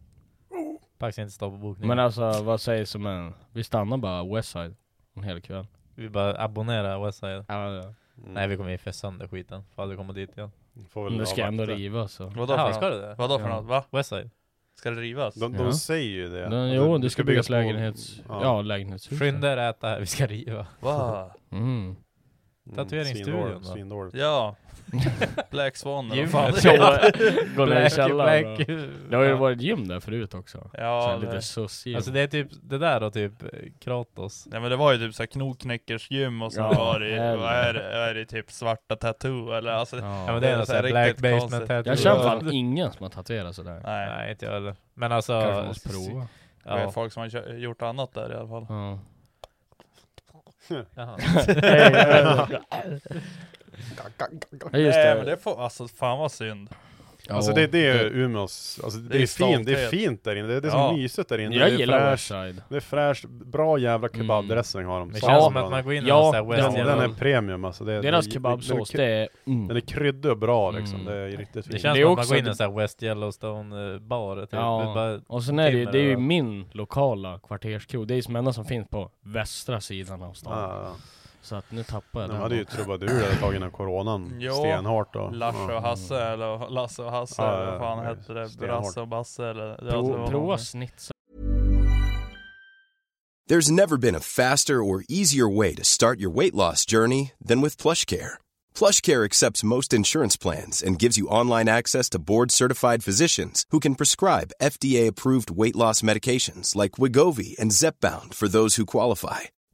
Faktiskt inte stå på bokningen. Men alltså vad sägs om en... Vi stannar bara Westside en hel kväll. Vi bara abonnerar Westside. Ja, ja. Nej vi kommer ju fästa sönder skiten. Får aldrig komma dit igen. Får väl Men det ska avvakta. ändå riva så. Vadå Jaha, för ska något? du det? Vadå för Ja. något? Va? Westside? Ska det rivas? De, Ja. de säger ju det. Den, Att jo, det- det ska byggas lägenhets... Ja, lägenhetshus. Skynda er äta här, vi ska riva. Va? Mm. Mm, tatueringsstudion svindåligt, då. Svindåligt. Ja. Black Swan eller vad Gym. fan Så, det är. gå ner i källaren. black. och- Det har ju varit gym där förut också. Så Ja, här det, lite sus Alltså det är typ det där och typ eh, Kratos. nej, men det var ju typ såhär knogknäckersgym och så Ja, var det, helvete. vad är det, är det typ svarta tattoo eller alltså, Ja men ja. det är det är något så här såhär black riktigt basement konstigt. tattoo. Jag känner fan ingen som har tatuerat sådär. nej. Nej inte jag heller. Men alltså... Kanske måste prova. Det är Ja. folk som har kö- gjort annat där i alla fall. Ja. Jaha. Ja, just Nej men det. det får, alltså fan vad synd. Alltså det, det är Umeås, alltså det, är är fint, det är stolthet. fint där inne. Det, det är så Ja. mysigt där Ja. inne. Jag det är gillar fräscht, Westside. Mm. det är fräscht, bra jävla kebabdressing har de. Det Fan, känns som bra att man går in i Ja, någon sån här den, West den är Yellow. premium alltså. Det, Deras det- kebabsås, den, är- det är... den Mm. är kryddig och bra liksom. Mm. Det är riktigt fint. Det känns Det är som att man också går in i det- en sån här West Yellowstone eh, bar. Typ. Ja. Det är bara- Och sen är det ju, Timmer det är ju över. min lokala kvarterskrog. Det är ju som enda som finns på västra sidan av stan. Ja, Så att nu tappar jag de den. hade ju trubadur ett tag innan coronan. Ja. Stenhårt då. Lasse och Hasse eller Lasse och Hasse Mm. Ja, eller ja, vad fan ja, hette det? stenhårt. Brasse och Basse eller? Ja, det var Pro, någon- prova snitsa. There's never been a faster or easier way to start your weight loss journey than with PlushCare. PlushCare accepts most insurance plans and gives you online access to board-certified physicians who can prescribe FDA-approved weight loss medications like Wigovi and Zepbound for those who qualify.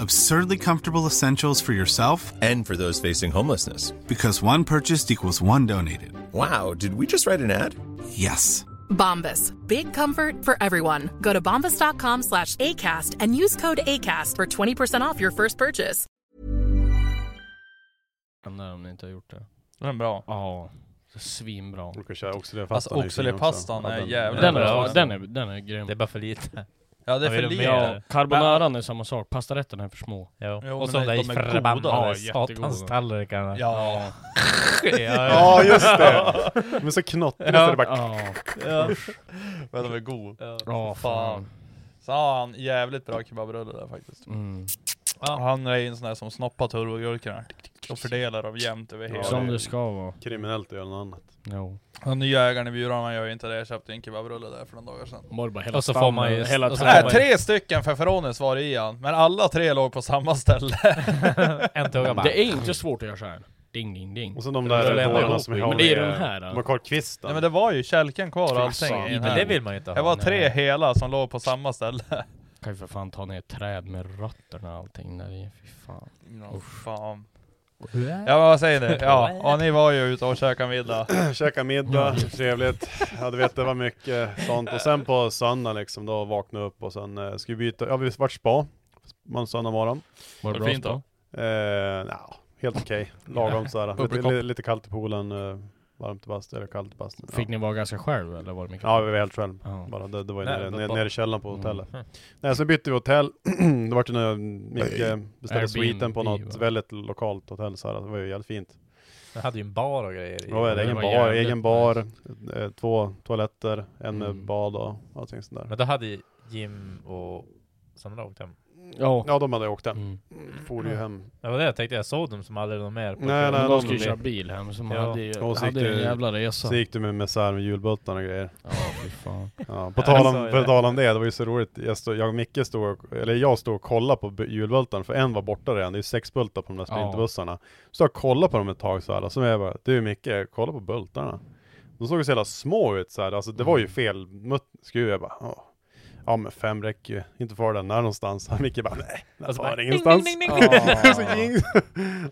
Absurdly comfortable essentials for yourself And for those facing homelessness. because one purchased equals one donated. Wow, did we just write an ad? Yes. Bombas. Big comfort for everyone. Go to bombas.com slash ACAST and use code ACAST for 20% off your first purchase. den där om ni inte har gjort det. Den är bra. Ja, svinbra. Du kan köra Alltså, oxfilépastan. oxfilépastan är jävligt Den bra. är, den, är, den är grym. Det är bara för lite. Ja det är Jag för vill lite. mer. Ja, carbonaran är samma sak, pastarätterna är för små. Jo. Jo, och men så de de där är goda, de är förbannade jättegoda. satanstallrikarna. Ja. ja, ja. Ja just det! Men så knottrigt så är det bara... Ja, ja. Men de är god. Fan. ja fan. Så har han jävligt bra kebabrulle där faktiskt. Mm. Ja. Han är ju en sån där som snoppar turbogurkorna och fördelar dem jämnt över hela. Som det- det ska vara. Kriminellt att göra något annat. Jo. Den nya ägaren i byrån han gör ju inte det. Jag köpte en kebabrulle där för några dagar sedan. Var det bara hela Och så får stammen, man ju- Äh, hela och så trädet. får Nej, tre stycken feferonis var det i han, men alla tre låg på samma ställe. En tugga bara. Det är inte svårt att göra såhär. Ding ding ding. Och så de Det där lämnar hålen ihop, som är eh, men det är de här, då. De har kort kvisten. Nej men det var ju kälken kvar och allting. fan. i den Men det här. vill man ju inte ha. Det var tre hela som låg på samma ställe. Kan ju för fan ta ner träd med rötterna och allting där i. Fy fan. Oh, fan. Ja. Ja men vad säger ni? Ja, och ni var ju ute och käkade middag. Käka middag, trevligt. Ja du vet det var mycket sånt. Och sen på söndag liksom, då vaknade jag upp och sen eh, skulle vi byta, ja vi vart spa. Man söndag morgon. Var det det bra fint då? då? Eh, nja, helt okej. Lagom sådär. Lite, Bubbelkopp. li- lite kallt i poolen, eh, varmt i bastun, eller kallt i bastun. Fick ja. ni vara ganska själv eller var det mycket? Ja, vi var helt själv. Ja. Bara, det, det var ju Nej, nere, då- nere, då- nere i källaren på Mm. hotellet. Nej, så bytte vi hotell. det vart ju när Micke beställde Airbnb, sviten på något va? väldigt lokalt hotell så här. Det var ju jävligt fint. Den hade ju en bar och grejer. i. Ja, det det var egen var bar, jävligt egen bar eh, två toaletter, en med Mm. bad och allting sånt där. Men då hade Jim och Sandra åkt hem. Ja. Ja, de hade åkt hem. Mm. For ju hem. Det var det jag tänkte, jag såg dem som aldrig någon mer. på Nej, turen. nej, Men de de skulle ju blir- köra bil hem så man Ja. hade ju Och så gick hade ju en det- jävla resa. Så gick du med mesär med julbultarna och grejer. Ja fy fan. Ja, på Ja, tal jag om, sa på ju det. tal om det, det var ju så roligt. Jag, stod, jag och Micke stod, och- eller jag stod och kollade på bu- julbultarna, för en var borta redan. Det är ju sex bultar på de där Ja. sprinterbussarna. Så jag kollade på dem ett tag så här, och så jag bara, du Micke, kolla på bultarna. De såg ju så jävla små ut så här. alltså det var Mm. ju fel mutt, skruv. Jag bara, "Åh, ja men fem räcker ju, inte far den där någonstans. Micke bara, nej, den Alltså, far ingenstans. Ja. så ging.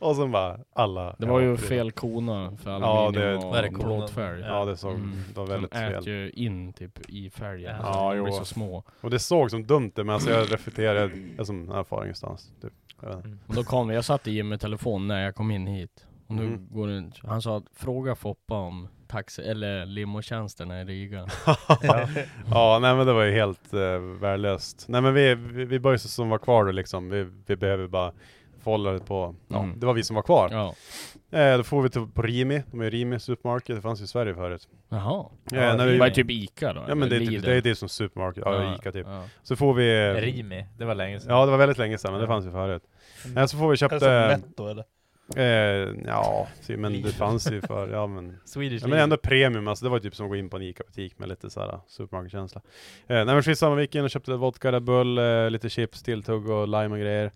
och sen bara, alla. Det var ja, ju fel kona för Ja, aluminium det- och Vad är det, och konan? plåtfärg. Ja, det såg, Mm. det var De väldigt fel. äter ju in typ i färgen. Ja. Ja, de Ja, blir jo. så små. Och det såg som dumt ut, men alltså jag reflekterade, jag är som, nej, far ingenstans. Typ. Jag vet inte. Och då kom vi, jag satt i Jim med telefon när jag kom in hit. Och nu Mm. går det inte. Han sa att fråga Foppa om taxi eller limotjänsterna i Riga. ja. ja, nej men det var ju helt eh, värdelöst. Nej men vi, vi, vi började som var kvar då liksom, vi, vi behöver bara få hålla det på, ja, Mm. det var vi som var kvar. Ja. Eh, då får vi till, på Rimi, de är ju Rimi Supermarket, det fanns ju i Sverige förut. Jaha. eh, när Det vi, var typ Ica då? ja men det, är eller typ- Lidl. det är det som Supermarket, ja Ica typ. Ja. Så får vi... Mm. Rimi, liksom. det var länge sedan. Ja det var väldigt länge sedan men det fanns ju förut. Nej så får vi Är Alltså, det som Alltså, köpte, Netto eller? eh, ja men det fanns ju för, ja men Swedish Ja, men ändå premium, alltså det var typ som att gå in på en ICA-butik med lite såhär supermarketkänsla. Eh, nej men skitsamma, vi gick in och köpte vodka, Red Bull, eh, lite chips, tilltugg och lime och grejer.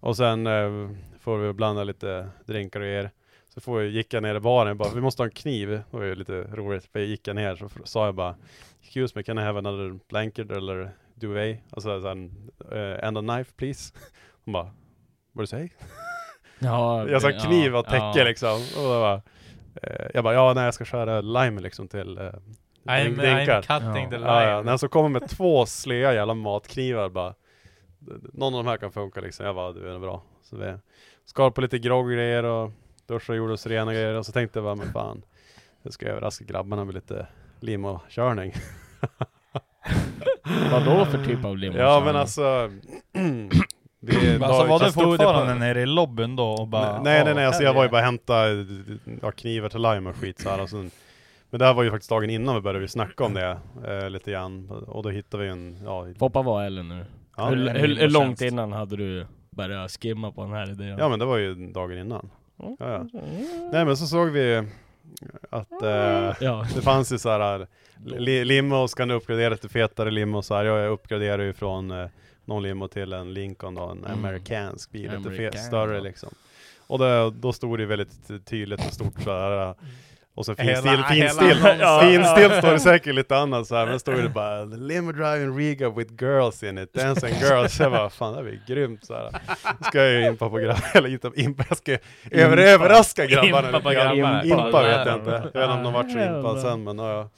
Och sen eh, får vi blanda lite drinkar och grejer. Så får vi, gick jag ner i baren och bara, vi måste ha en kniv. Det var ju lite roligt, för jag gick jag ner så fr- sa jag bara Excuse me, can I have another blanket eller duvet? Alltså så här, en, eh, and a knife please? Hon bara, what do you say? Ja, Jag sa det- kniv ja, och täcke ja. liksom. Och då bara, eh, jag bara, ja nej jag ska skära lime liksom till eh, I'm, drink- I'm drinkar. cutting the line. Ja, ja. När jag så kommer med två slöa jävla matknivar bara, någon av de här kan funka liksom. Jag bara, du är bra. Så vi skar på lite grogg och grejer och duschade och gjorde oss rena och grejer. Och så tänkte jag bara, men fan, jag ska överraska grabbarna med lite limokörning. Vadå för typ av limotjänster? Ja men alltså, det, Alltså då- var du jag stod det på- fortfarande nere i lobbyn då och bara... nej nej "Åh, nej, alltså här jag var är ju bara och hämtade ja, knivar till lime och skit så här, och sen, Men det här var ju faktiskt dagen innan vi började vi snacka om det eh, lite grann och då hittade vi en, ja, i- Foppa var eller nu? ja, hur, en hur, hur långt limotjänst. innan hade du börjat skimma på den här idén? ja men det var ju dagen innan. Ja, ja. Nej men så såg vi att eh, ja. det fanns ju så här eh, li, limo, ska ni uppgradera till fetare limo så här, jag uppgraderar ju från eh, någon limo till en Lincoln och en Mm. amerikansk bil, lite fet, American, större ja. liksom. Och då, då stod det väldigt tydligt och stort så här. eh, Och så Hela- finstilt, hela finstilt, annonsen. finstilt står det säkert lite annat så här, men då stod det bara "The Limo drive in Riga with girls in it, dancing girls. Jag bara, fan det här blir grymt så här. Då ska jag ju impa på grabbarna, eller inte impa, jag ska över, överraska grabbarna. Impa på lite grann. grabbarna. Impa vet Impa. jag inte, jag vet inte om de vart så impade sen men ja, ja.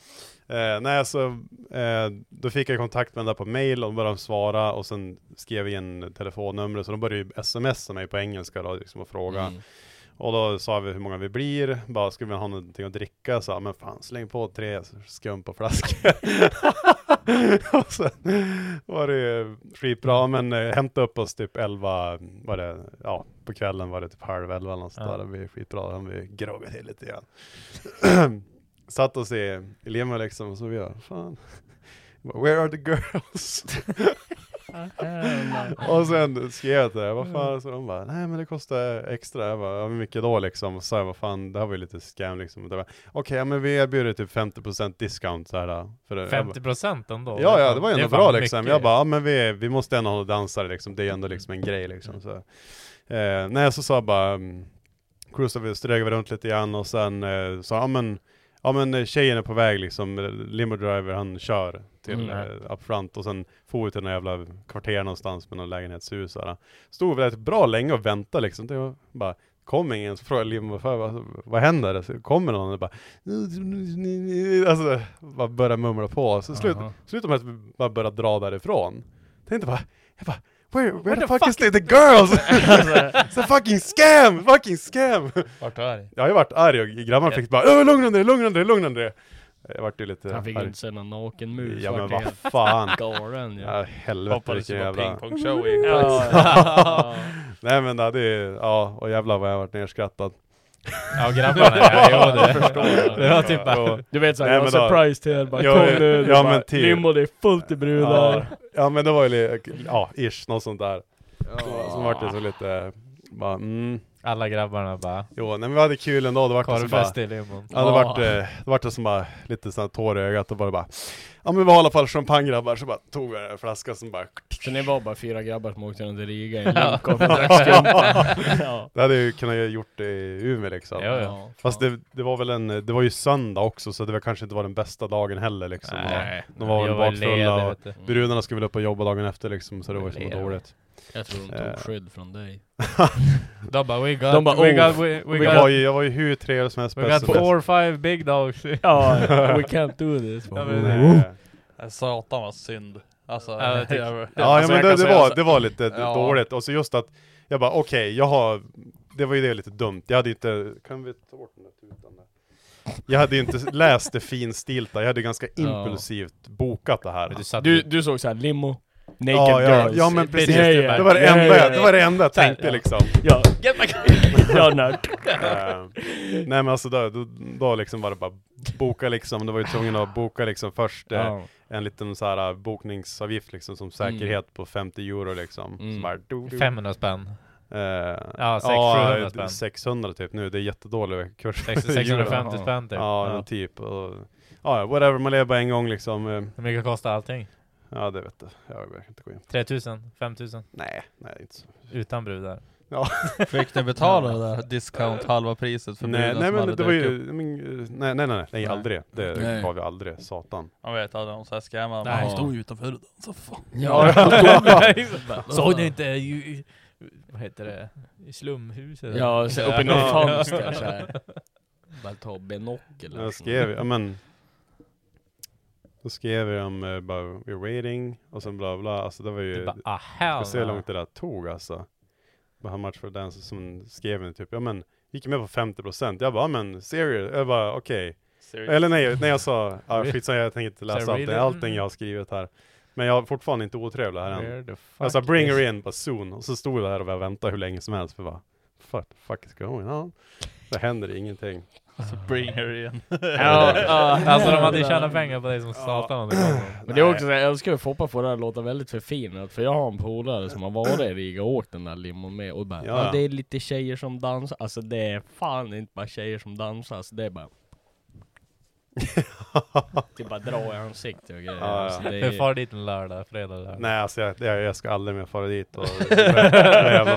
Eh, nej, så eh, då fick jag kontakt med den där på mail och började svara och sen skrev jag in telefonnumret så de började ju smsa mig på engelska då, liksom och fråga. Mm. Och då sa vi hur många vi blir, bara skulle vi ha någonting att dricka? Så men fan släng på tre skum på flaska. och sen var det ju skitbra, men eh, hämta upp oss typ elva, var det, ja på kvällen var det typ halv elva eller något sånt där. Det blev skitbra, han vi groggade till lite grann. Satt oss i, i limo liksom, och så vi bara, fan, where are the girls? och sen skrev jag till det, vad fan, så de bara, nej men det kostar extra. Jag bara, ja, hur mycket då liksom? Och så sa jag, vad fan, det här var ju lite scam liksom. Och de bara, Okej, ja, men vi erbjuder typ 50% discount så här. För det. Jag bara, 50% ändå? Ja, ja, det var ju är ändå fan bra liksom. mycket. Jag bara, ja, men vi, vi måste ändå hålla dansare liksom. Det är ändå liksom en grej liksom. Så. Eh, nej, så sa jag bara, mm, cruisade vi, strög vi runt lite grann och sen eh, sa, ja men, ja men eh, tjejen är på väg liksom, Eh, limo driver han kör till Mm. eh, up front och sen for vi till några jävla kvarter någonstans med någon lägenhetshus så här. Stod vi där ett bra länge och väntade liksom. Det var bara, kom ingen, så frågade limochauffören, vad, vad händer? Så kommer någon och bara, alltså, bara börjar mumla på. Så slut, Aha. slutar med att vi bara börjar dra därifrån. Tänkte bara, jag bara, where, where, the, fuck, is the, the girls? It's a fucking scam! Fucking scam! Vart är det? Jag har ju varit arg och grabbarna fick bara, "Öh, lugna dig, lugna dig, lugna dig! Jag vart ju lite Han fick arg. inte se någon naken mus. Ja, vart men det vad helt fan. Galen Ja, ja. helvete Hoppades vilken det var jävla... pingpongshow i Ja. Nej men det är ja, och jävlar vad jag varit nerskrattad. Ja, grabbarna ja, jo det. Jag förstår. Det var typ bara... Och- Du vet såhär, Nej, jag var men då- surprise till er, bara Ja, kom ja, nu, Du ja, bara, men typ. limo det är fullt i Ja, brudar. ja men det var ju, li- ja ish, något sånt där. Som vart det så lite, bara mm. Alla grabbarna bara... Jo, nej men vi hade kul ändå, det vart det som bara Korvfest i limon. Ja, det vart, eh, det vart det som bara lite sån här tår i ögat och bara bara Ja men vi har i alla fall champagne grabbar, så bara tog jag en flaska som bara Så ni var bara fyra grabbar som åkte runt i Riga i en Lincoln och drack skumpa. Ja. Det hade jag ju kunnat gjort i Umeå liksom Ja, ja. Ja, Fast fan. det, det var väl en, det var ju söndag också så det var kanske inte var den bästa dagen heller liksom Nej, De var väl jag var bakfulla ledig, och- vet du. Och Brudarna skulle väl upp och jobba dagen efter liksom så det var ju Leder. så dåligt Jag tror de Eh. tog skydd från dig. De bara we got... De bara, we "Oh, got... We, we Vi var got... ju, jag var ju hur trevlig som helst, We bäst got som helst. four, five big dogs. Ja, we can't do this. Ja, men- eh, Mm. Nej. Satan vad synd. Alltså, Ja, det- jag- Ja, alltså, ja jag men det, kan det, säga var, så- det var lite d- Ja. dåligt, och så just att jag bara okej, jag har, det var ju det lite dumt, jag hade ju inte, kan vi ta bort den där tutan där? Jag hade ju inte läst det finstilta, jag hade ganska Ja. impulsivt bokat det här. Du, du såg såhär limo, naked ja, ja, girls. ja men precis, Yeah, det, yeah, var det yeah, enda, jag- yeah. det var det enda jag tänkte ja. liksom. Ja, get my Ja, nej. Eh, Nej men alltså då, då, då liksom var det bara boka liksom, det var ju tvungen att boka liksom först eh, Ja. en liten så här eh, bokningsavgift liksom som säkerhet på 50 euro liksom. Mm. Så bara, do, do, 500 spänn. Eh, Ja, sex- 700 spänn. 600 typ nu, det är jättedålig kurs. Sex- 650 spänn typ. Ja, men typ. Och, ja, whatever, man lever bara en gång liksom. Eh, Hur mycket kostar allting? Ja, det vet du. Jag verkar inte gå in. 3000? 5000? Nej, nej, inte så. Utan brudar? Fick ni betala det där discount halva priset för Nej, bruden nej som men hade det var dykt upp? ju, men, eh, nej, nej, nej, nej, aldrig. Det Nej. var vi aldrig, satan. Man vet aldrig om såhär scammar. Nej. Nej. Han stod ju utanför och dansade. Fan. Ja, Såg ni inte ju, vad heter det, i slumhuset? ja så uppe i något Ja. fönster såhär. Bara ta binokel. Jag skrev, ja men. Då skrev jag om eh, bara, we're waiting, och sen bla bla, alltså det var ju. Du bara ah Ska hell se hur no. långt det där tog alltså. Bara han match för dance som skrev en typ, ja men, gick med på 50%. Jag bara, ja men serial, jag bara okej. Eller nej, när jag sa, ja skitsamma jag tänker inte läsa Serial. allting, allting jag har skrivit här. Men jag är fortfarande inte otrevlig här än. Where the fuck Jag sa bring is- her in, bara soon. Och så stod jag där och bara väntade hur länge som helst, för bara, fuck, fuck is going on? Det händer ingenting. Så bring her in. Ja, ja. Alltså de hade ju tjänat pengar på dig som satan om det kom någon. Men det är också såhär, jag älskar hur Foppa får det här låta väldigt förfinat, för jag har en polare som har varit i Riga och åkt den där limon med och bara Ja. ja. det är lite tjejer som dansar, alltså det är fan inte bara tjejer som dansar, alltså det är bara Typ bara dra i ansiktet och grejer. Ja, ja. Alltså, det Vi är... far dit en lördag, fredag, lördag. Nej alltså jag, jag, jag ska aldrig mer fara dit och... Det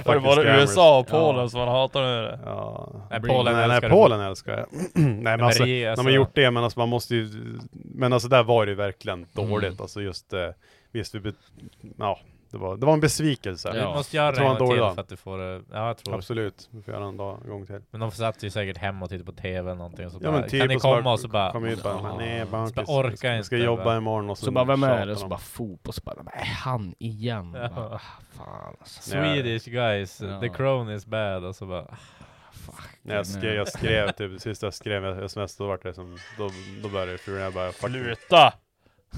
För det var det USA och Polen som han hatar nu det. Ja. Nej, Polen nej, nej, älskar Polen älskar jag. nej men men alltså, det är de har alltså- gjort det, men alltså man måste ju, men alltså där var det ju verkligen Mm. dåligt, alltså just, eh, visst vi, be, ja, det var, det var en besvikelse. Du Ja. måste Jag göra det tror en han gång till dålig dag. för att du får det. Ja, jag tror Absolut, vi får göra en dag, en gång till. Men de satt ju säkert hemma och tittade på TV eller någonting. Och så Ja, bara, men typ, kan ni och så bara- komma? Och så bara... Kom hit bara, "Ja." men nej Så bara bankis, orkar jag ska inte, jobba va? imorgon och så Så bara vem är tjatar det? Så de. bara fotboll, så bara är han igen? Ja. Bara, ah, fan alltså. Swedish guys, Ja. the crone is bad. Och så bara... ah, Fuck. När jag skrev, jag skrev typ, det sista jag skrev i sms, då vart det som, då, då började frugan, jag bara fuck you. Sluta!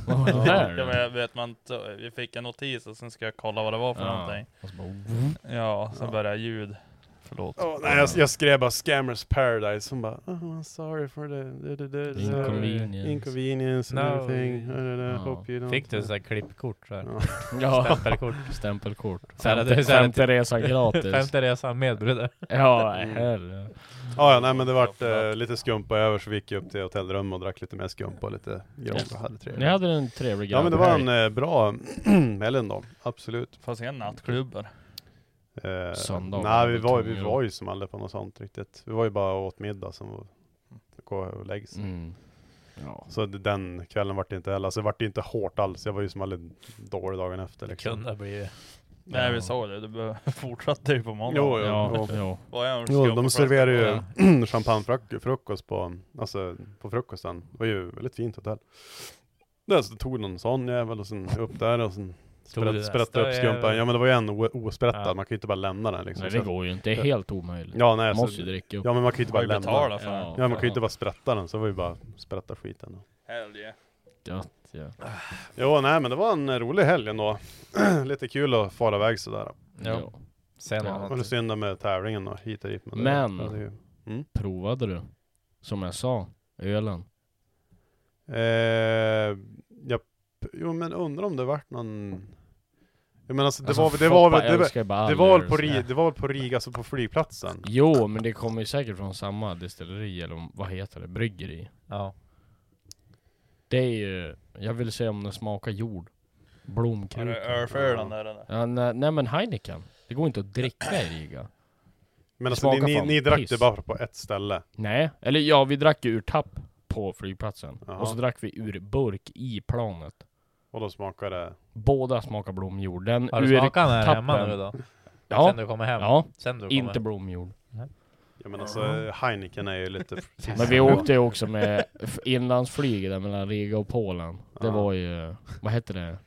Vad var det där? Ja, men jag vet man, t- vi fick en notis och sen ska jag kolla vad det var för Ja. någonting. Och så bara- Ja, sen började jag ljud. Förlåt. Åh, nej, jag, jag skrev bara 'Scammers Paradise' hon bara oh, I'm sorry for the, the, the, the, the Inconvenience. inconvenience and No. everything uh, uh, uh, Ja. hope you don't Fick du såhär klippkort såhär? Ja. Ja. Stämpelkort? Stämpelkort. Så här, Femte, det- så här- femte resan gratis. Femte resan med bröder. ja, herre. Ja, ja, nej men det vart eh, lite skumpa över så vi gick upp till hotellrum och drack lite mer skumpa och lite grogg och hade Ni trevligt. hade en trevlig Ja men det var en eh, bra helg då, absolut. Fanns inga nattklubbar. Eh, Söndag var Nej vi väl var, vi tvungen. var ju som aldrig på något sånt riktigt. Vi var ju bara och åt middag som var gå och lägga sig. Mm. Ja. Så det- den kvällen vart det inte heller, alltså det vart det inte hårt alls. Jag var ju som aldrig dålig dagen efter Det liksom. kunde ha blivit... Nej vi såg det, det be- fortsatte ju på måndag. Jo, jo. Ja, liksom, jo. Vad är det för Jo, skrubb de och serverar frukter? ju champagnefrukost på, alltså, på frukosten. Det var ju väldigt fint hotell. Där så tog någon sån jävel och sen upp där och sen Tog du sprätt, sprättade upp nästa skumpan. jävel? Ja men det var ju en o- osprättad, Ja. man kan ju inte bara lämna den liksom. Nej det Så- går ju inte, det är helt omöjligt. Ja nej, Man så, måste ju dricka upp. ja men man kan ju inte Har bara ju lämna den. betalat för den. Ja man kan ju inte bara sprätta den, så var ju bara sprätta skiten. då. Helge. Gött, ja. Jo nej men det var en rolig helg ändå. Lite kul att fara iväg sådär. Ja. Sen Ja. Det var lite annat. synd med tävlingen och hit och dit. det- Men- ja, det är ju- Provade du? Som jag sa, ölen. Eh, ja, p- jo men undrar om det vart någon... Jag menar alltså, det Alltså, var väl- det var Foppa väl, det var, älskar ju bara det all var väl öl på och Ri, sådär. det var väl på Riga, alltså på flygplatsen? Jo, men det kommer ju säkert från samma destilleri, eller om- vad heter det? Bryggeri. Ja. Det är ju... Jag vill se om den smakar jord. Är det Blomkruka. ölfölan där eller? Ja, nej, nej men Heineken. Det går inte att dricka i Riga. Men alltså, ni, smakar ni, fan ni drack piss. det bara på ett ställe? Nej, eller ja, vi drack ju ur tapp på flygplatsen. Jaha. Och så drack vi ur burk i planet. Och då smakade det... Båda smakar blomjord. Den Har du ur smakat den här hemma tappen. nu då? Ja, Sen du kommer hem? ja Sen du kommer inte blomjord. Jag menar alltså, Heineken är ju lite... Men vi åkte ju också med f- inlandsflyg där mellan Riga och Polen. Det Ja. var ju, vad hette det?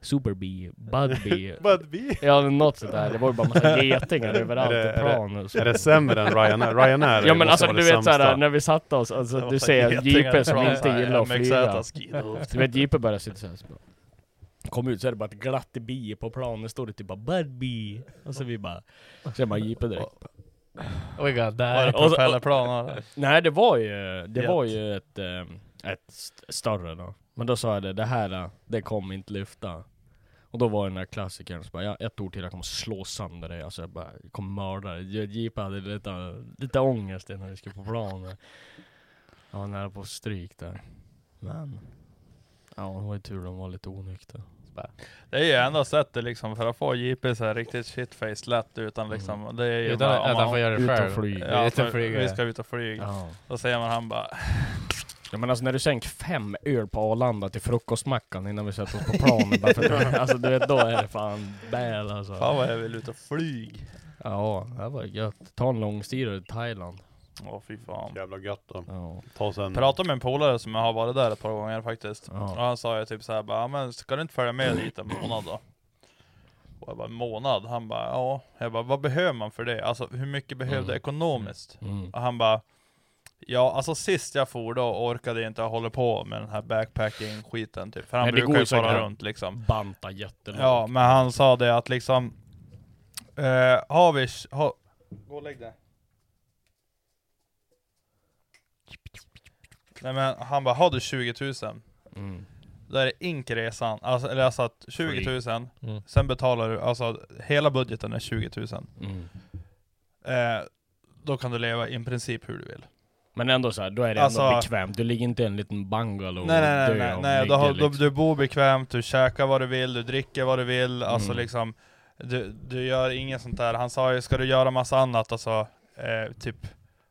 Superbee, Budbee. But vi... ja något sånt där. Det var ju bara massa getingar överallt Är det- i planen. Är det sämre än Ryanair? Ryanair är- Ja men måste alltså vara du det vet såhär sämsta. när vi satte oss, alltså Det var du så ser getingar JP som från inte gillar att flyga. MXZ skid upp. Du vet JP börjar sitta såhär. Så bara, Kom ut så är det bara ett glatt bi på planen, står det typ bara Budbee. Och så vi bara, sen bara JP direkt. Oh my god, Var det där. Och så- propellerplan eller? Nej det var ju, det Jet. var ju ett, ehm, ett st- större då. Men då sa jag det, det här, eh, det kommer inte lyfta. Och då var den där klassikern som bara, ja, ett ord till jag kommer slå sönder dig, alltså jag bara, jag kommer mörda dig. Jag- JP hade lite, lite ångest när vi skulle på planen. Jag var nära på stryk där. Men, ja det var ju tur de var lite onyktra. Det är ju enda sättet liksom för att få JP så här riktigt shitface lätt utan liksom, det är ju Utan bara, om att man- han får göra det Ut och själv. flyga. Ja, Ut och för- flyga. vi ska ut och flyga. Ja. Då säger man han bara, ja men alltså när du sänker fem öl på Arlanda till frukostmackan innan vi sätter oss på planen bara för att, alltså du vet då är det fan bäl alltså. fan vad jag vill ut och flyg. Ja, det här var gött. Ta en långstirare till Thailand. Åh fy fan. Jävla gött då. Ja. Ta sen... Pratade med en polare som jag har varit där ett par gånger faktiskt. Ja. Och han sa ju typ såhär bara, "Ja, men ska du inte följa med dit en månad då? Och jag bara, en månad? Han bara, ja. Jag bara, vad behöver man för det? Alltså hur mycket behövde Mm. ekonomiskt? Mm. Och han bara, ja alltså sist jag for då orkade jag inte hålla på med den här backpacking-skiten typ. För han Nej, det går brukar ju ju säkert fara att- runt liksom. Banta jättelångt. Ja, men han sa det att liksom, eh, har vi... Har, Gå och lägg dig. Nej men han bara, har du 20 000? Mm. Då är det inkresan, alltså, eller alltså att 20 000, Mm. sen betalar du, alltså hela budgeten är 20 000. Mm. Eh, då kan du leva i princip hur du vill. Men ändå så här, då är det ändå Alltså- bekvämt. Du ligger inte i en liten bungalow och Nej nej nej, dör nej, Oh, av nej. Du, myggen, har, liksom. du, du bor bekvämt, du käkar vad du vill, du dricker vad du vill, alltså Mm. liksom du, du gör inget sånt där. Han sa ju, ska du göra massa annat, alltså eh, typ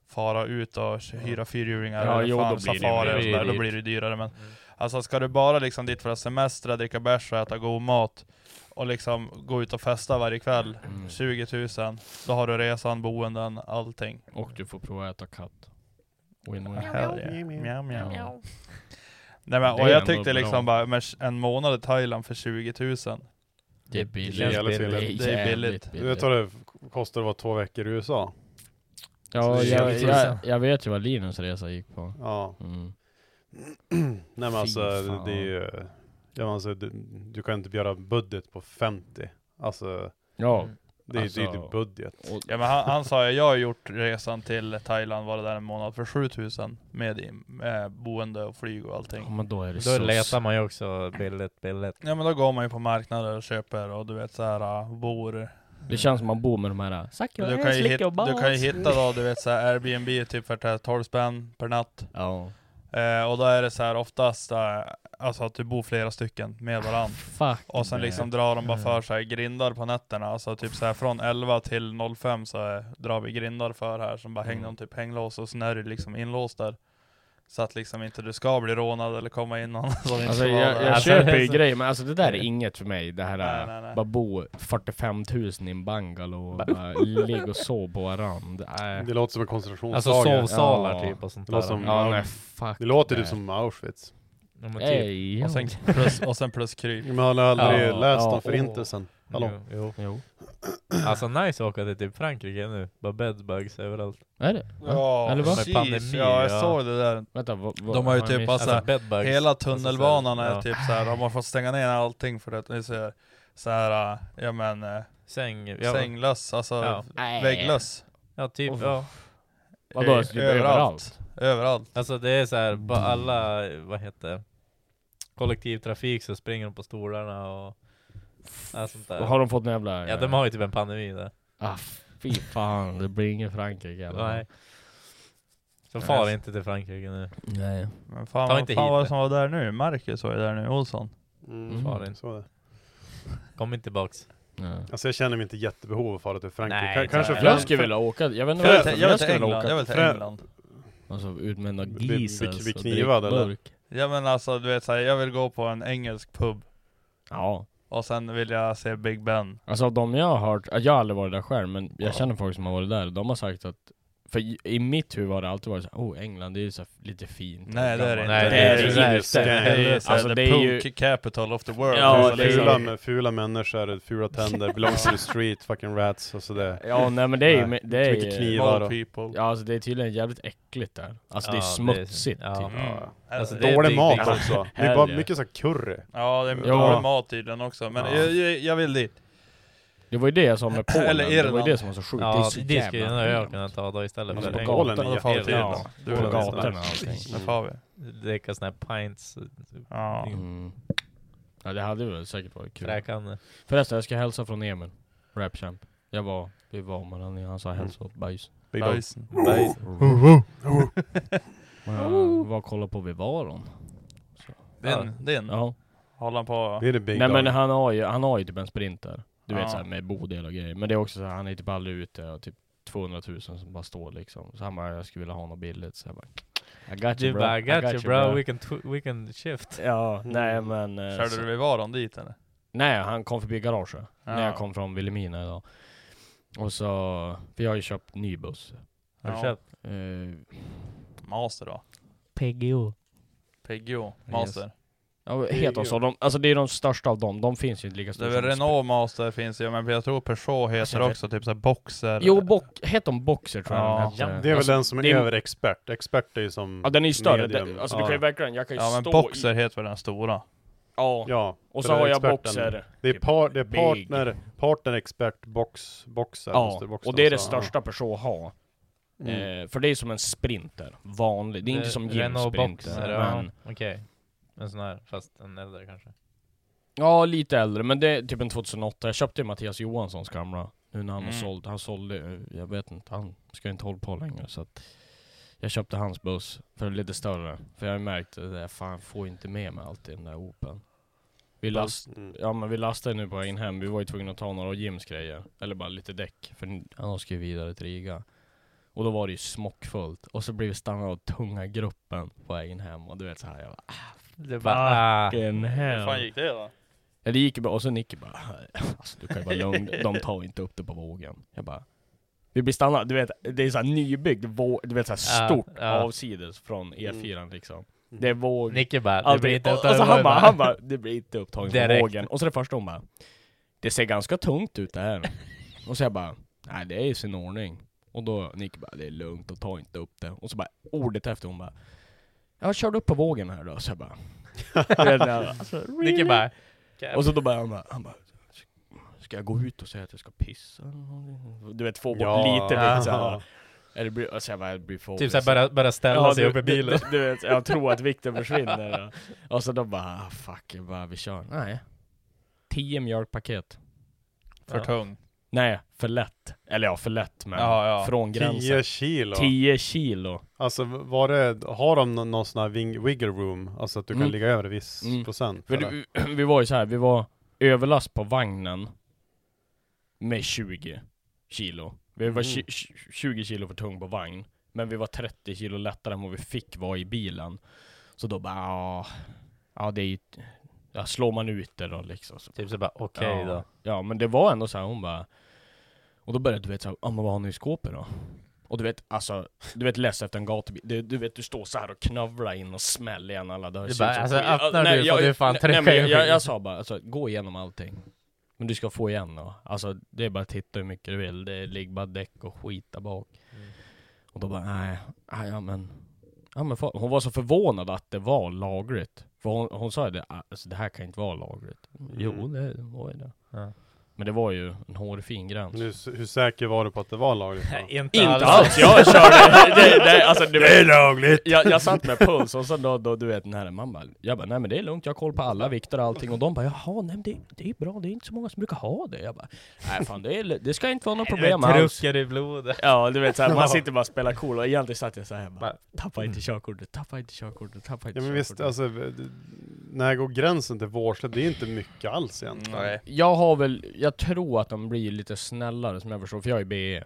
fara ut och kö- hyra fyrhjulingar Ja, eller jo, fan, då blir det- safari det och blir sådär, då dyrt. blir det dyrare men Mm. Alltså ska du bara liksom dit för att semestra, dricka bärs och äta god mat och liksom gå ut och festa varje kväll, Mm. 20 000, då har du resan, boenden, allting. Och du får prova att äta katt. Win-win. Hell yeah. Mjau, mjau. Ja. Nej, men, Det och är jag ändå tyckte bra. liksom bara, men en månad i Thailand för 20 000 Det är Det är billigt. jävligt billigt. Det är billigt. Du vet vad det kostar att vara två veckor i USA? Ja, Så det är jag, jävligt jag, intressant. jag vet ju vad Linus resa gick på. Ja. Mm. Nej men Fy alltså, fan. det är ju... Ja, men alltså, du, du kan inte göra budget på 50. Alltså, Ja. Mm. det är ju Alltså, alltså, budget. Ja men han, han sa ju, jag har gjort resan till Thailand, var det där en månad, för 7000 med, i- med boende och flyg och allting. Ja, men då är det Då så... letar man ju också billigt, billigt. Ja men då går man ju på marknader och köper och du vet såhär, bor. Det känns som man bor med de här... äh, Suck your Mm. Du ass, kan, ju lick your hitta, du kan ju balls. hitta då, du vet såhär Airbnb typ för t- 12 spänn per natt. Ja. Eh, och då är det så här oftast eh, alltså att du bor flera stycken med varann. Fuck Mm. Och sen det. liksom drar de bara för sig grindar på nätterna. Alltså typ så här från 11 till 05 så eh, drar vi grindar för här. Sen bara Mm. hänger de typ hänglås och sen är du liksom inlåst där. Så att liksom inte du ska bli rånad eller komma in någon som inte Alltså ska vara jag, där. jag Alltså, köper ju alltså- grejer men alltså det där är inget för mig. Det här Nej, äh, nej, nej. bara bo 45 000 i en bungalow och bara ligga och sova på varann. Det, äh. Det låter som en koncentrationslager. Alltså sovsalar Ja. typ och sånt Det där. låter som- Ja nej fuck det låter det. typ som Auschwitz. Ja, men typ. Ej, Och sen jo. plus, och sen plus kryp. Men har ni aldrig Ja, läst ja, om förintelsen? Hallå? Jo, jo. Jo. Alltså nice att åka till typ Frankrike nu. Bara bedbugs överallt. Är det? Ja, Eller vad? precis. Med pandemi, ja, jag ja. såg det där. Vänta vad, vad De har ju typ jag Alltså, Alltså bedbugs. Hela tunnelbanan är Alltså, så typ så här, de har fått stänga ner allting för att det är så här, så här äh, ja men, äh, Säng. Ja, sänglöss, alltså Ja. Nej. vägglöss. ja typ. Åh, Ja. Vadå, Eh, alltså, typ överallt? Överallt. Alltså det är så här, på alla, vad heter det? Kollektivtrafik så springer de på stolarna och allt sånt där. Har de fått en jävla... Ja de har ju typ en pandemi där. Ah, fy fan, det blir ingen Frankrike eller? Nej. Så Nej, far alltså. inte till Frankrike nu. Nej. Men Ta fan, inte vad fan hit var det det. som var där nu? Marcus var ju där nu, Olsson. Mm. Far inte. Så är det. Kom inte tillbaks. nej. Alltså jag känner mig inte jättebehov av att fara till Frankrike. Nej, Ka- kanske nej. Jag Fran- skulle vilja åka, jag vet inte Jag varför, Jag men vill jag till skulle vilja England, jag åka. vill till Frä- England. Alltså ut med några Bli- bli- geezers bli och knivad, eller? drickburk. Ja men alltså du vet så här, jag vill gå på en engelsk pub. Ja. Och sen vill jag se Big Ben. Alltså av de jag har hört, jag har aldrig varit där själv men jag känner folk som har varit där, de har sagt att för i- i mitt huvud har det alltid varit såhär, oh England det är ju så här lite fint Nej, det är det inte. Nej det är det Nej, inte. det är Det är, så här, Alltså the det är ju, punk capital of the world. Ja, Alltså, det är- liksom. fula, fula människor, fula tänder, belongs to the street, fucking rats och sådär. ja nej men det är ju, Nej, det är mycket ju, kniv. Small då. people. ja alltså det är tydligen jävligt äckligt där. Alltså det är Ja, det är- smutsigt ja. typ. Mm. Ja. Alltså, det är Dålig big- mat liksom. big- också. Det är bara Herre. mycket så här curry. Alltså, Ja, det är Ja. dålig mat tydligen också, men Ja. jag, jag, jag vill dit. Det var ju det jag sa med Polen, Eller det var ju Irland. det som var så sjukt. det är Ja, så det skulle jävla jag fint. kunna ta då istället Alltså, för på en Polen gång. är Då får vi jävligt till bra. Irland. På Du, gatorna och allting. Det får vi. Dricka såna här pints, Ja. Mm. Ja det hade väl säkert varit kul. kräkande. Förresten, jag ska hälsa från Emil. Rapchamp. Jag var, vi var med honom när han sa hälsa åt bajs. Big dog. Bajsen. Men jag var och kollade på Vivaron. Din, din. Ja. Håller han på? Det är det big Nej men dog. han har ju, han har ju typ en sprinter. Du Ja. vet såhär med bodel och grejer. Men det är också så här, han är typ aldrig ute och typ 200 000 som bara står liksom. Så han bara, jag skulle vilja ha något billigt. Så jag bara, I got you Du bro. bara I got you bro, we can, tw- we can shift. Ja, Mm. nej men... eh, Körde så- du vid varan dit eller? Nej, han kom förbi garaget. Ja. När jag kom från Vilhelmina idag. Och så, för jag har ju köpt ny buss. Har du Ja. köpt? Eh, Master då? PGO. PGO? Master? Ja, heter de så? De, alltså det är de största av dem, de finns ju inte lika Det är stora väl som- Renault Master finns ju, men jag tror Peugeot heter jag vet- också typ såhär Boxer. Jo, bock, heter de Boxer tror jag Ja. den Det hette. är väl alltså, den som är det är- överexpert. Expert är ju som... Ja den är ju större, medium. den, alltså Ja. du kan ju verkligen, jag kan ju Ja men stå Boxer i... heter väl den stora? Ja, Ja. och för så har jag experten. Boxer. Det är, par, det är Big. partner, partner, expert, box, boxer. Ja, måste alltså. boxen och det är det också, ja. största Peugeot har. Mm. Eh, för det är som en sprinter, vanlig. Det är inte som Jims Renault sprinter. Boxer, ja. Men, Okej. En sån här, fast en äldre kanske. ja, lite äldre, men det är typ en 2008. Jag köpte ju Mattias Johanssons gamla. Nu när han Mm. har sålt, han sålde, eh, jag vet inte, han ska ju inte hålla på längre så att jag köpte hans buss, för lite större. För jag har ju märkt att jag fan får inte med mig allt i den där Open. Vi last, Mm. Ja men vi lastade nu på vägen hem, vi var ju tvungna att ta några av Jims grejer. Eller bara lite däck, för annars ska vi vidare till Riga. Och då var det ju smockfullt, och så blev vi stannade av tunga gruppen på vägen hem. Och du vet såhär, jag bara Det bara, ah. Fucking Hur fan hell. gick det då? Ja, det gick ju bra, och så Nicky bara alltså, du kan ju vara lugn, de tar inte upp det på vågen. Jag bara vi blir stannade, du vet det är såhär nybyggd våg, du vet såhär Ja, stort ja. avsides från E4 liksom. Det är våg, Nicke bara, det Allting. blir inte och, utan och så han över, bara, han bara, det blir inte upptagen på Direkt. vågen. Och så det första hon bara, det ser ganska tungt ut det här. Och så jag bara, nej det är i sin ordning. Och då, Nick bara, det är lugnt och ta inte upp det. Och så bara, ordet efter hon bara, jag körde upp på vågen här då. Så jag bara, vet du, alltså, jag bara, Nicky bara, och så då bara han bara, han bara Ska jag gå ut och säga att jag ska pissa? eller någonting?" Du vet, få bort Ja. lite liksom bit Ja. såhär Eller blir, alltså jag bara, jag blir för Typ såhär, bara- bara ställa sig du- upp i du- bilen. Du, du vet, jag tror att vikten försvinner och, och så då bara, ah, fuck, jag bara, vi kör Nej 10 mjölkpaket För tung. Nej, för lätt Eller ja, för lätt men Ja, ja. från gränsen 10 kilo. 10 kilo Alltså var det, har de någon, någon sån här wing, wiggle room? Alltså att du kan Mm. ligga över en viss Mm. procent? För typ, eller? det, vi var ju så här, vi var överlast på vagnen med 20 kilo. Vi var tj- tj- 20 kilo för tung på vagn, men vi var 30 kilo lättare än vad vi fick vara i bilen. Så då bara, ja, ja det är ju, ja, slår man ut det då liksom. Så, typ så bara, okej ja, då. Ja, men det var ändå så här, hon bara, och då började du vet så här, ja men vad har ni i skåpet då? Och du vet, alltså, du vet läs efter en gatubil, du, du vet du står så här och knövlar in och smäller igen alla dörrar. Du bara, Så- alltså, ja, öppnar du får du fan nej, trycka nej, men i jag, jag, skiten. jag sa bara, alltså, gå igenom allting. Men du ska få igen då. Alltså det är bara att titta hur mycket du vill, det ligger bara däck och skit där bak. Mm. Och då bara, nej, nej, ja men. Ja, men fan. hon var så förvånad att det var lagligt. För hon, hon sa ju det, alltså, det här kan inte vara lagligt. Jo, det var ju det. Ja. Men det var ju en hårfin gräns. Men hur, hur säker var du på att det var lagligt? då? Inte, Inte alls, jag körde, det, det, alltså, du Det är lagligt. Jag, jag satt med puls och sen då, då du vet den här mamma Jag bara nej men det är lugnt, jag har koll på alla vikter och allting Och de bara jaha nej men det, det är bra, det är inte så många som brukar ha det Jag bara nej fan det, är, det ska inte vara något problem alls Truckar i blodet. Ja du vet såhär, man sitter bara och spelar cool och egentligen satt jag såhär bara Bara, Tappa inte körkortet, tappa inte körkortet, tappa inte Mm. Ja men visst, körkortet alltså, d- när går gränsen till vårdslöjd? Det är inte mycket alls egentligen. Nej. Jag har väl, jag tror att de blir lite snällare som jag förstår för jag är BE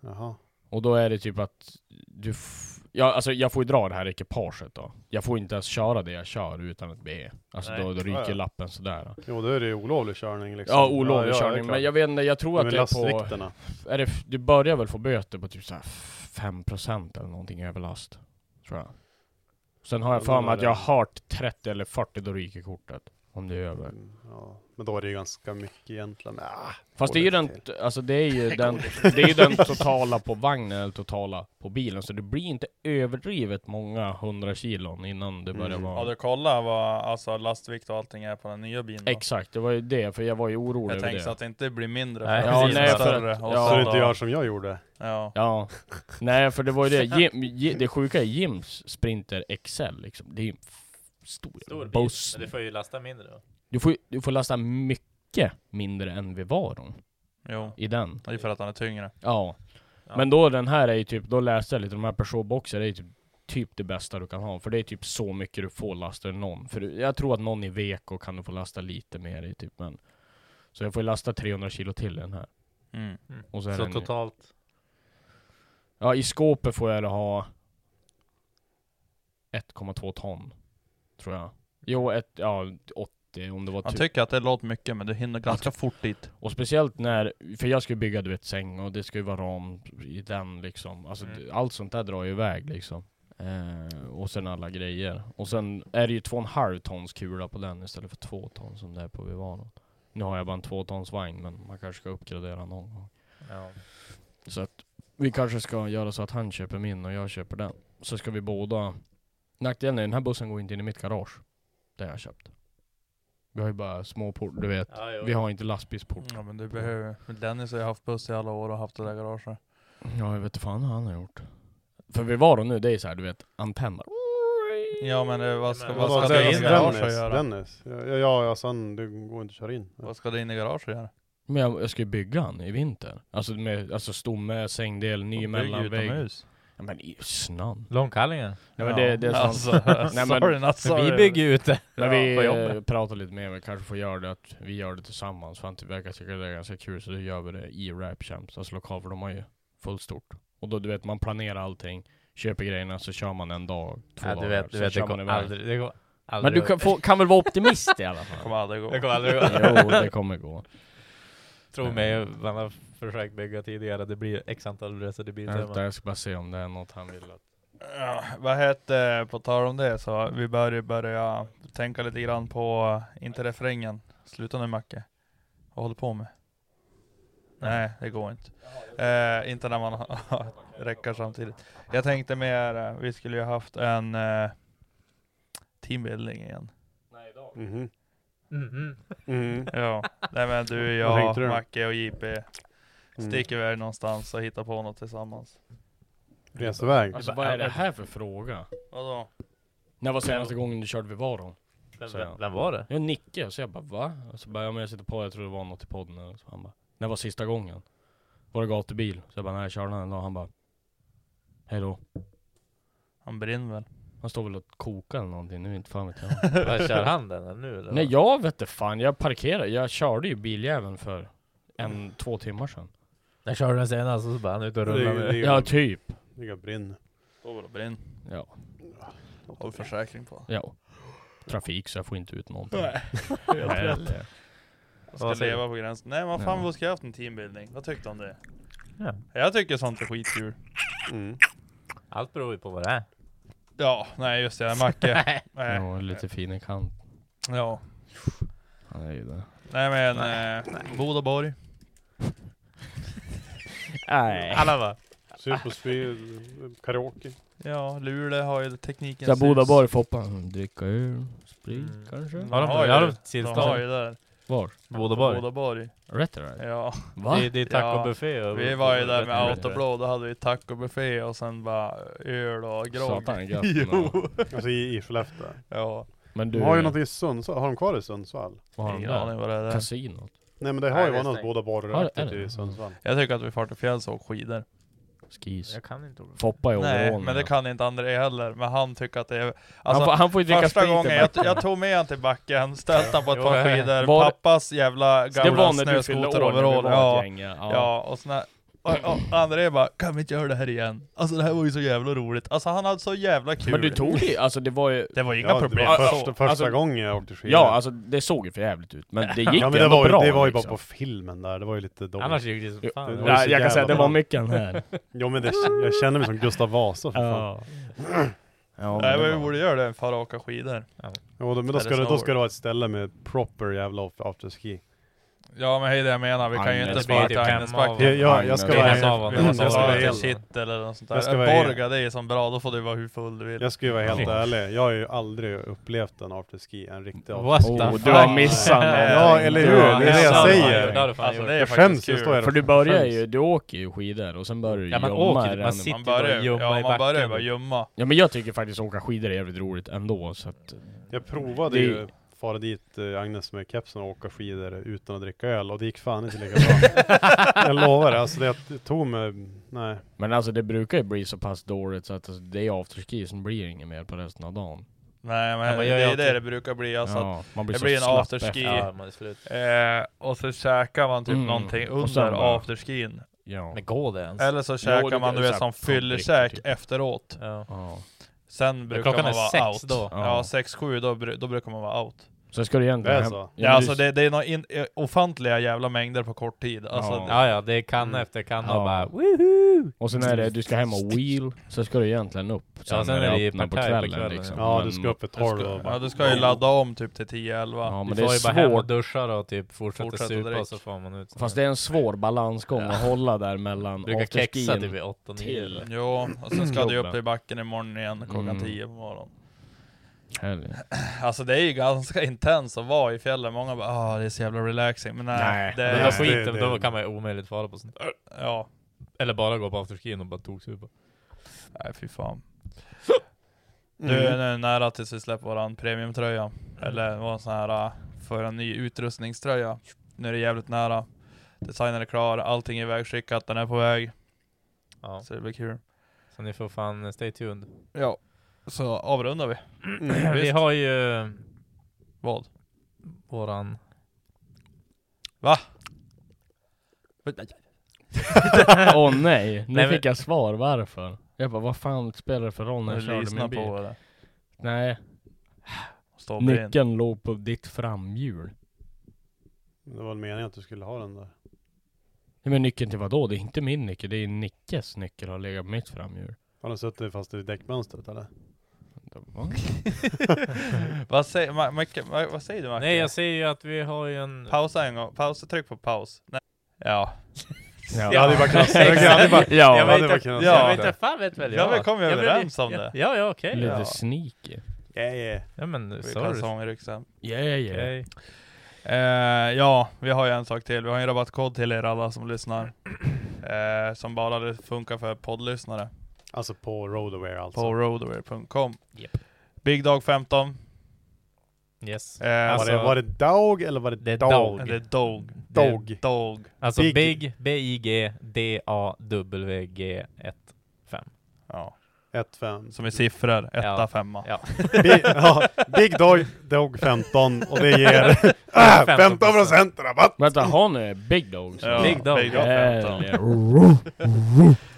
Jaha. Och då är det typ att du f- ja, alltså jag får ju dra det här ekipaget då. Jag får inte ens köra det jag kör utan ett BE. Alltså Nej. då, då Ja, ryker ja. lappen sådär. Jo, då är det ju olovlig körning liksom. Ja, olovlig ja, ja, det är körning. klart. Men jag vet inte, jag tror Men att det är på... lastvikterna. Är det, f- du börjar väl få böter på typ såhär 5% eller någonting i överlast. Tror jag. Sen har jag Ja, för men mig att det- jag har hört 30 eller 40, då ryker kortet. Om det är över. Mm, Ja, men då är det ju ganska mycket egentligen. Men, Ah, Fast det är ju den, alltså det är ju den, det är ju den totala på vagnen, eller totala på bilen, så det blir inte överdrivet många hundra kilon innan det börjar Mm. vara... Ja du kollar vad alltså, lastvikt och allting är på den nya bilen då? Exakt, det var ju det, för jag var ju orolig Jag över tänkte det. så att det inte blir mindre Nej, för ja, precis, nej, för större. att- och ja. Så så du inte då- gör som jag gjorde. Ja. Ja, nej för det var ju det, Jim, Ji- det sjuka är Jims Sprinter XL liksom, det är ju en f- stor, Stor bil. buss. Men du får ju lasta mindre då. Du får, ju- du får lasta mycket mindre än vid varon Jo. i den. Det är för att han är tyngre. Ja. Ja. Men då den här är ju typ, då läste jag lite, de här Peugeot boxer är ju typ, typ det bästa du kan ha. För det är typ så mycket du får lasta ur någon. För jag tror att någon i veko kan du få lasta lite mer i typ, men. Så jag får ju lasta 300 kilo till i den här. Mm. Och så är Så den ju- totalt. Ja, i skåpet får jag ha 1,2 ton. Tror jag. Jo, ett, ja, 80 om det var typ- Man tur. tycker att det låter mycket men du hinner ganska fort dit. Och speciellt när, för jag ska ju bygga du vet säng och det ska ju vara ram i den liksom. Alltså, Mm. det- Allt sånt där drar ju iväg liksom. Eh, och sen alla grejer. Och sen är det ju två och en halv tons kula på den istället för två ton som det är på Vivano. Nu har jag bara en två tons vagn men man kanske ska uppgradera någon gång. Ja. Så att vi kanske ska göra så att han köper min och jag köper den. Så ska vi båda... Nackdelen är den här bussen går inte in i mitt garage. Där jag köpt. Vi har ju bara små port, du vet. Ja, jo. Vi har inte lastbilsport. Ja men du behöver Mm. Dennis har ju haft buss i alla år och haft det där garaget. Ja, jag vet inte fan vad han har gjort. För vi var då nu, det är så här, du vet, antenner. Ja men eh, vad ska, Men vad Vadå, ska det Dennis, in i garaget Dennis, göra? Dennis. Ja, ja, alltså han, du går inte att köra in. Vad ska det in i garaget göra? Men jag, jag ska ju bygga han i vinter. Alltså, med, alltså stomme, sängdel, ny De bygger ju mellanvägg. utomhus. Ja, men i snön. Långkallingen. Nej, men det, det är sånt. alltså, Nej, men- sorry, not Men sorry. vi bygger ju ute. Men Ja, vi på jobbet. eh, pratar lite mer, vi kanske får göra det att vi gör det tillsammans. För han verkar tycka det är ganska kul, så då gör vi det i Rap Champs, alltså lokal, för de har ju fullt stort. Och då du vet, man planerar allting, köper grejerna, så kör man en dag, två Ja, du dagar, vet, du sen vet det kör man kommer iväg. aldrig, det går Men aldrig du kan, få, kan väl vara optimist i alla Det fall? kommer aldrig gå. Det kommer aldrig gå. jo, det kommer gå. Tro mig, man har försökt bygga tidigare, det blir x antal resor till Vänta, biltimmar. jag ska bara se om det är något han vill att... Ja, vad heter, på tal om det så vi börjar börja tänka lite grann på, eh, inte refrängen, sluta nu Macke. Vad håller du på med? Nej, det går inte. Eh, inte när man har räcker samtidigt. Jag tänkte mer, eh, vi skulle ju haft en eh, teambuilding igen. Mhm. Mhm. Ja, nej men du, Vad tänkte du? jag, Macke och JP Mm. Mm. sticker iväg någonstans och hittar på något tillsammans. Reseväg. Alltså vad är det här för fråga? Vadå? När var senaste gången du körde vid Varon? Vem, Så jag- vem, vem var det? Jag nickade, så jag bara va? Och så bara, ja, men jag sitter på, jag tror det var något i podden eller så. Han bara, när var sista gången? Var det gatubil? Så jag bara, nej jag körde den en dag. Han bara, hejdå. Han brinner väl? Han står väl och kokar eller någonting, nu inte fan vet jag. Vad, Kör han den här nu eller? Nej vad? jag vet inte fan, jag parkerade, jag körde ju biljäveln för en, två timmar sedan. Jag körde den senast och så bara han är ute och rullar Det- med det- Ja typ. Ligga brinn. Står väl och brinner. Ja. Har du försäkring på? ja. Trafik så jag får inte ut någonting. Jag Heller. ska Vad säger leva på gränsen. Nej men fan Ja. vi skulle haft en teambuilding. Vad tyckte du om det? Ja. Jag tycker sånt är skitkul. Mm. Allt beror ju på vad det är. Ja, nej just det, Macke. nej. Ja, lite fin i kant. Ja. Han är ju det. Nej men, eh, Bodaborg. Nej. Alla bara Sug på spy, karaoke. Ja, Luleå har ju tekniken. Så Bodaborg, Foppan, Mm, dricka öl, sprit Mm. kanske? Har de- har ju- har de De har ju tillstånd? där. Var? Bodaborg? Bodaborg. Rätt är det? Ja. Va? Det, det är tacobuffé och... Vi var ju där med Rätt, rätt. Autoblå, då hade vi tacobuffé och sen bara öl och grogg. Satan, gött. Jo. Alltså i, i Skellefteå. Ja. Men du, De har ju något i Sundsvall, har de kvar i Sundsvall? vad har de Ingen aning vad där? det är. Kasinot? Nej men det har Nej, ju det är varit något stängt. båda Har- barer är rätt det? ute i Sundsvall. Jag tycker att vi far till fjälls och åker skidor. Skis? Jag kan inte ord. Foppa i Nej, overall, men det ja. kan inte André heller. Men han tycker att det är... han, får, Alltså, han får ju dricka första sprit i gången jag, backen. jag tog med han till backen, stötte han på ett Jo, par det- skidor, var- pappas jävla Det var gamla när du fyllde år, när vi snöskoteroverall. var Ja, ett gäng ja. ja. ja, och såna och, och André bara 'Kan vi inte göra det här igen?' Alltså det här var ju så jävla roligt. Alltså han hade så jävla kul. Men du tog det alltså det var ju... Det var inga Ja, det problem. var så. första, första alltså- gången jag åkte skidor. Ja, alltså det såg ju för jävligt ut, men det gick ju ja, men det var, ändå ju- bra det var ju bara liksom. på filmen där, det var ju lite dåligt. Annars gick det som fan. Det var ju Ja, så jag kan jävla säga att det var bra. mycket den här. Ja men det, jag känner mig som Gustav Vasa för fan. ja. ja, Nej men men det vi var... borde göra det, fara och åka skidor. Jo, då, men då Eller ska, det, då snowboard. ska det vara ett ställe med proper jävla off- afterski. Ja men hej det jag menar, vi kan ju inte Agnes spara Back. till Det kan Agnes vara- Back. Jag, jag, jag ska Det är vara hans avund. Vi Jag måste ska spara vara till el. helt, shit eller något sånt Jag ska där. vara el. Borga, det är som bra, då får du vara hur full du vill. jag ska ju vara helt ärlig, jag har ju aldrig upplevt en afterski, en riktig What afterski. the Oh, fuck? du har missat Ja, eller hur? Det är det jag säger. Ja, det har du fan Alltså, gjort. det är Jag faktiskt skäms, jag kul. står här För och du börjar skäms. ju, du åker ju skidor och sen börjar du Ja, man jumma åker- man i random. sitter- Man börjar ju Sitter ja, bara och gömma i man börjar ju backen. bara gömma. Ja men jag tycker faktiskt åka skidor är jävligt roligt ändå så att... Jag provade Det- ju fara dit eh, Agnes med kepsen och åka skidor utan att dricka öl och det gick fan inte lika bra. jag lovar det, alltså det jag tog mig, nej. Men alltså det brukar ju bli så pass dåligt så att alltså, det är afterski som blir det inget mer på resten av dagen. Nej men, Ja, men det jag är gör det typ- det brukar bli alltså. ja, man blir det så blir en slapp afterski. efter. Ja, man är slut. Eh, och så käkar man typ Mm. någonting Och sen under bara- afterskin. Ja. Men går det ens? Eller så käkar det- man du så vet här, som fan, fyllerkäk riktigt, typ. efteråt. Ja. ja. Sen brukar klockan man är vara sex out. då. Ja, Ja. 6-7 då, bru- då brukar man vara out. Så ska du egentligen Det är hem- så. men Ja, alltså du- det, det är några in- eh, ofantliga jävla mängder på kort tid. Alltså, Ja. Ja, ja, det är kanna Mm. efter kanna och Ja. bara woho! Och sen är det, du ska hem och wheel, så ska du egentligen upp. Ja, sen är det ju öppnar på partaj på kvällen, kvällen, liksom. Ja, Men- du ska upp ett du tolv ska, och ja, bara, du ska ju ladda om typ till 10-11. Ja men du det är får ju bara hem och svårt. duscha och typ fortsätta Fortsätta supa direkt. och så får man ut Fast det är en svår balansgång att hålla där mellan Brukar kexa typ afterskin. vid 8 till. 9 eller? Mm, Jo, och sen ska du ju upp Jobba. i backen imorgon igen klockan Mm. 10 på morgonen. Helgen. Alltså det är ju ganska intens att vara i fjällen. Många bara ah det är så jävla relaxing. Men nej, Nej. det Men då är... skit- skiter det- då det- kan man ju omöjligt fara på sånt. Ja. Eller bara gå på afterskin och bara toksupa. Nej fy fan. Mm. Du är nu nära tills vi släpper våran premiumtröja. Eller vad sån här, äh, för en ny utrustningströja. Nu är det jävligt nära. Designen är klar, allting är ivägskickat, den är på väg. Ja. Så det blir kul. Så ni får fan eh, stay tuned. Ja. Så avrundar vi. Vi Visst. har ju Vad? våran... Åh nej, nu Nej, men- fick jag svar varför. Jag bara, vad fan spelar det för roll när jag körde Lyssna min bil? på det. Nej, Stå och brinn. nyckeln låg på ditt framhjul. Det var meningen att du skulle ha den där. Nej, men nyckeln till vadå? Det är inte min nyckel, det är Nickes nyckel har legat på mitt framhjul. Har den suttit fast i däckmönstret eller? Va? vad, säger, Ma- Macke- Ma- vad säger du Macke? Nej jag ser ju att vi har ju en... Pausa en gång. Pausa, tryck på paus. Nej. Ja. Max. Ja. Ja, det är bara klass. Det Exakt. är bara- Ja, det jag är vet bara inte, klass. jag vet inte, fan vet väl Ja, vi kom ju Jag blev- överens om ja, det. Ja, ja, okej. Lite Ja. sneaky. Yeah, yeah. Ja men, Vi sorry. kalsonger i ryggsäck. Yeah, yeah. Okej. Eh, ja, vi har ju en sak till. Vi har en rabattkod till er alla som lyssnar. Eh, som bara funkar för poddlyssnare. Alltså på Roadaware alltså. På roadaway.com. Japp. Big Dog 15. Yes. Eh, var, alltså, det, var det Dog eller var det, Det är Dog? det är Dog. Dog. Dog. Alltså Big- Big, B-I-G, D-A-W-G 1. Ja. 1-5. Som är siffror. Etta, Ja. femma. Ja. Big, ja, Big Dog, Dog 15 och det ger ah, 15% rabatt! Vänta, han är big dogs. Ja, Big Dog. Big Dog 15.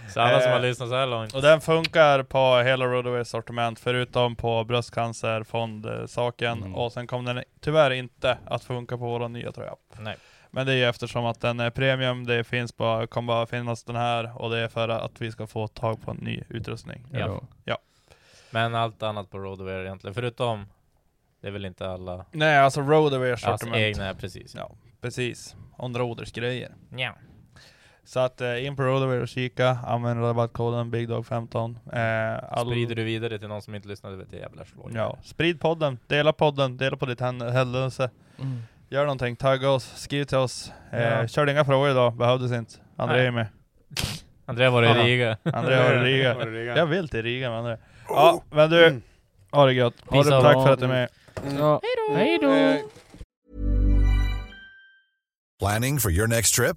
Så alla som har Eh, lyssnat så här långt. Och den funkar på hela Roadaway sortiment förutom på bröstcancerfondsaken Mm. och sen kommer den tyvärr inte att funka på vår nya tröja. Nej. Men det är ju eftersom att den är premium, det finns bara, kommer bara finnas den här och det är för att vi ska få tag på en ny utrustning. Ja. Men allt annat på Roadwear egentligen, förutom det är väl inte alla Nej alltså Roadaway hans sortiment. egna, ja, precis. Ja, precis. Onroaders grejer. Nja. Så att eh, in på Roadaway och kika, använd rabattkoden BigDog15. Eh, all- Sprider du vidare till någon som inte lyssnade vet jag jävlar slår jag. Ja, sprid podden, dela podden, dela på ditt hän- händelse. Mm. Gör någonting, tagga oss, skriv till oss. Eh, Ja. Körde inga frågor idag, behövdes inte. André Nej. är med. Andrea var i Aha. Riga. André har det Var Riga. det Jag Riga? vill till Riga med André. Ja, men du, ha det gött. Ha Oh. Peace det, out. tack för att du är med. Ja. Hej då! Eh, Planning for your next trip?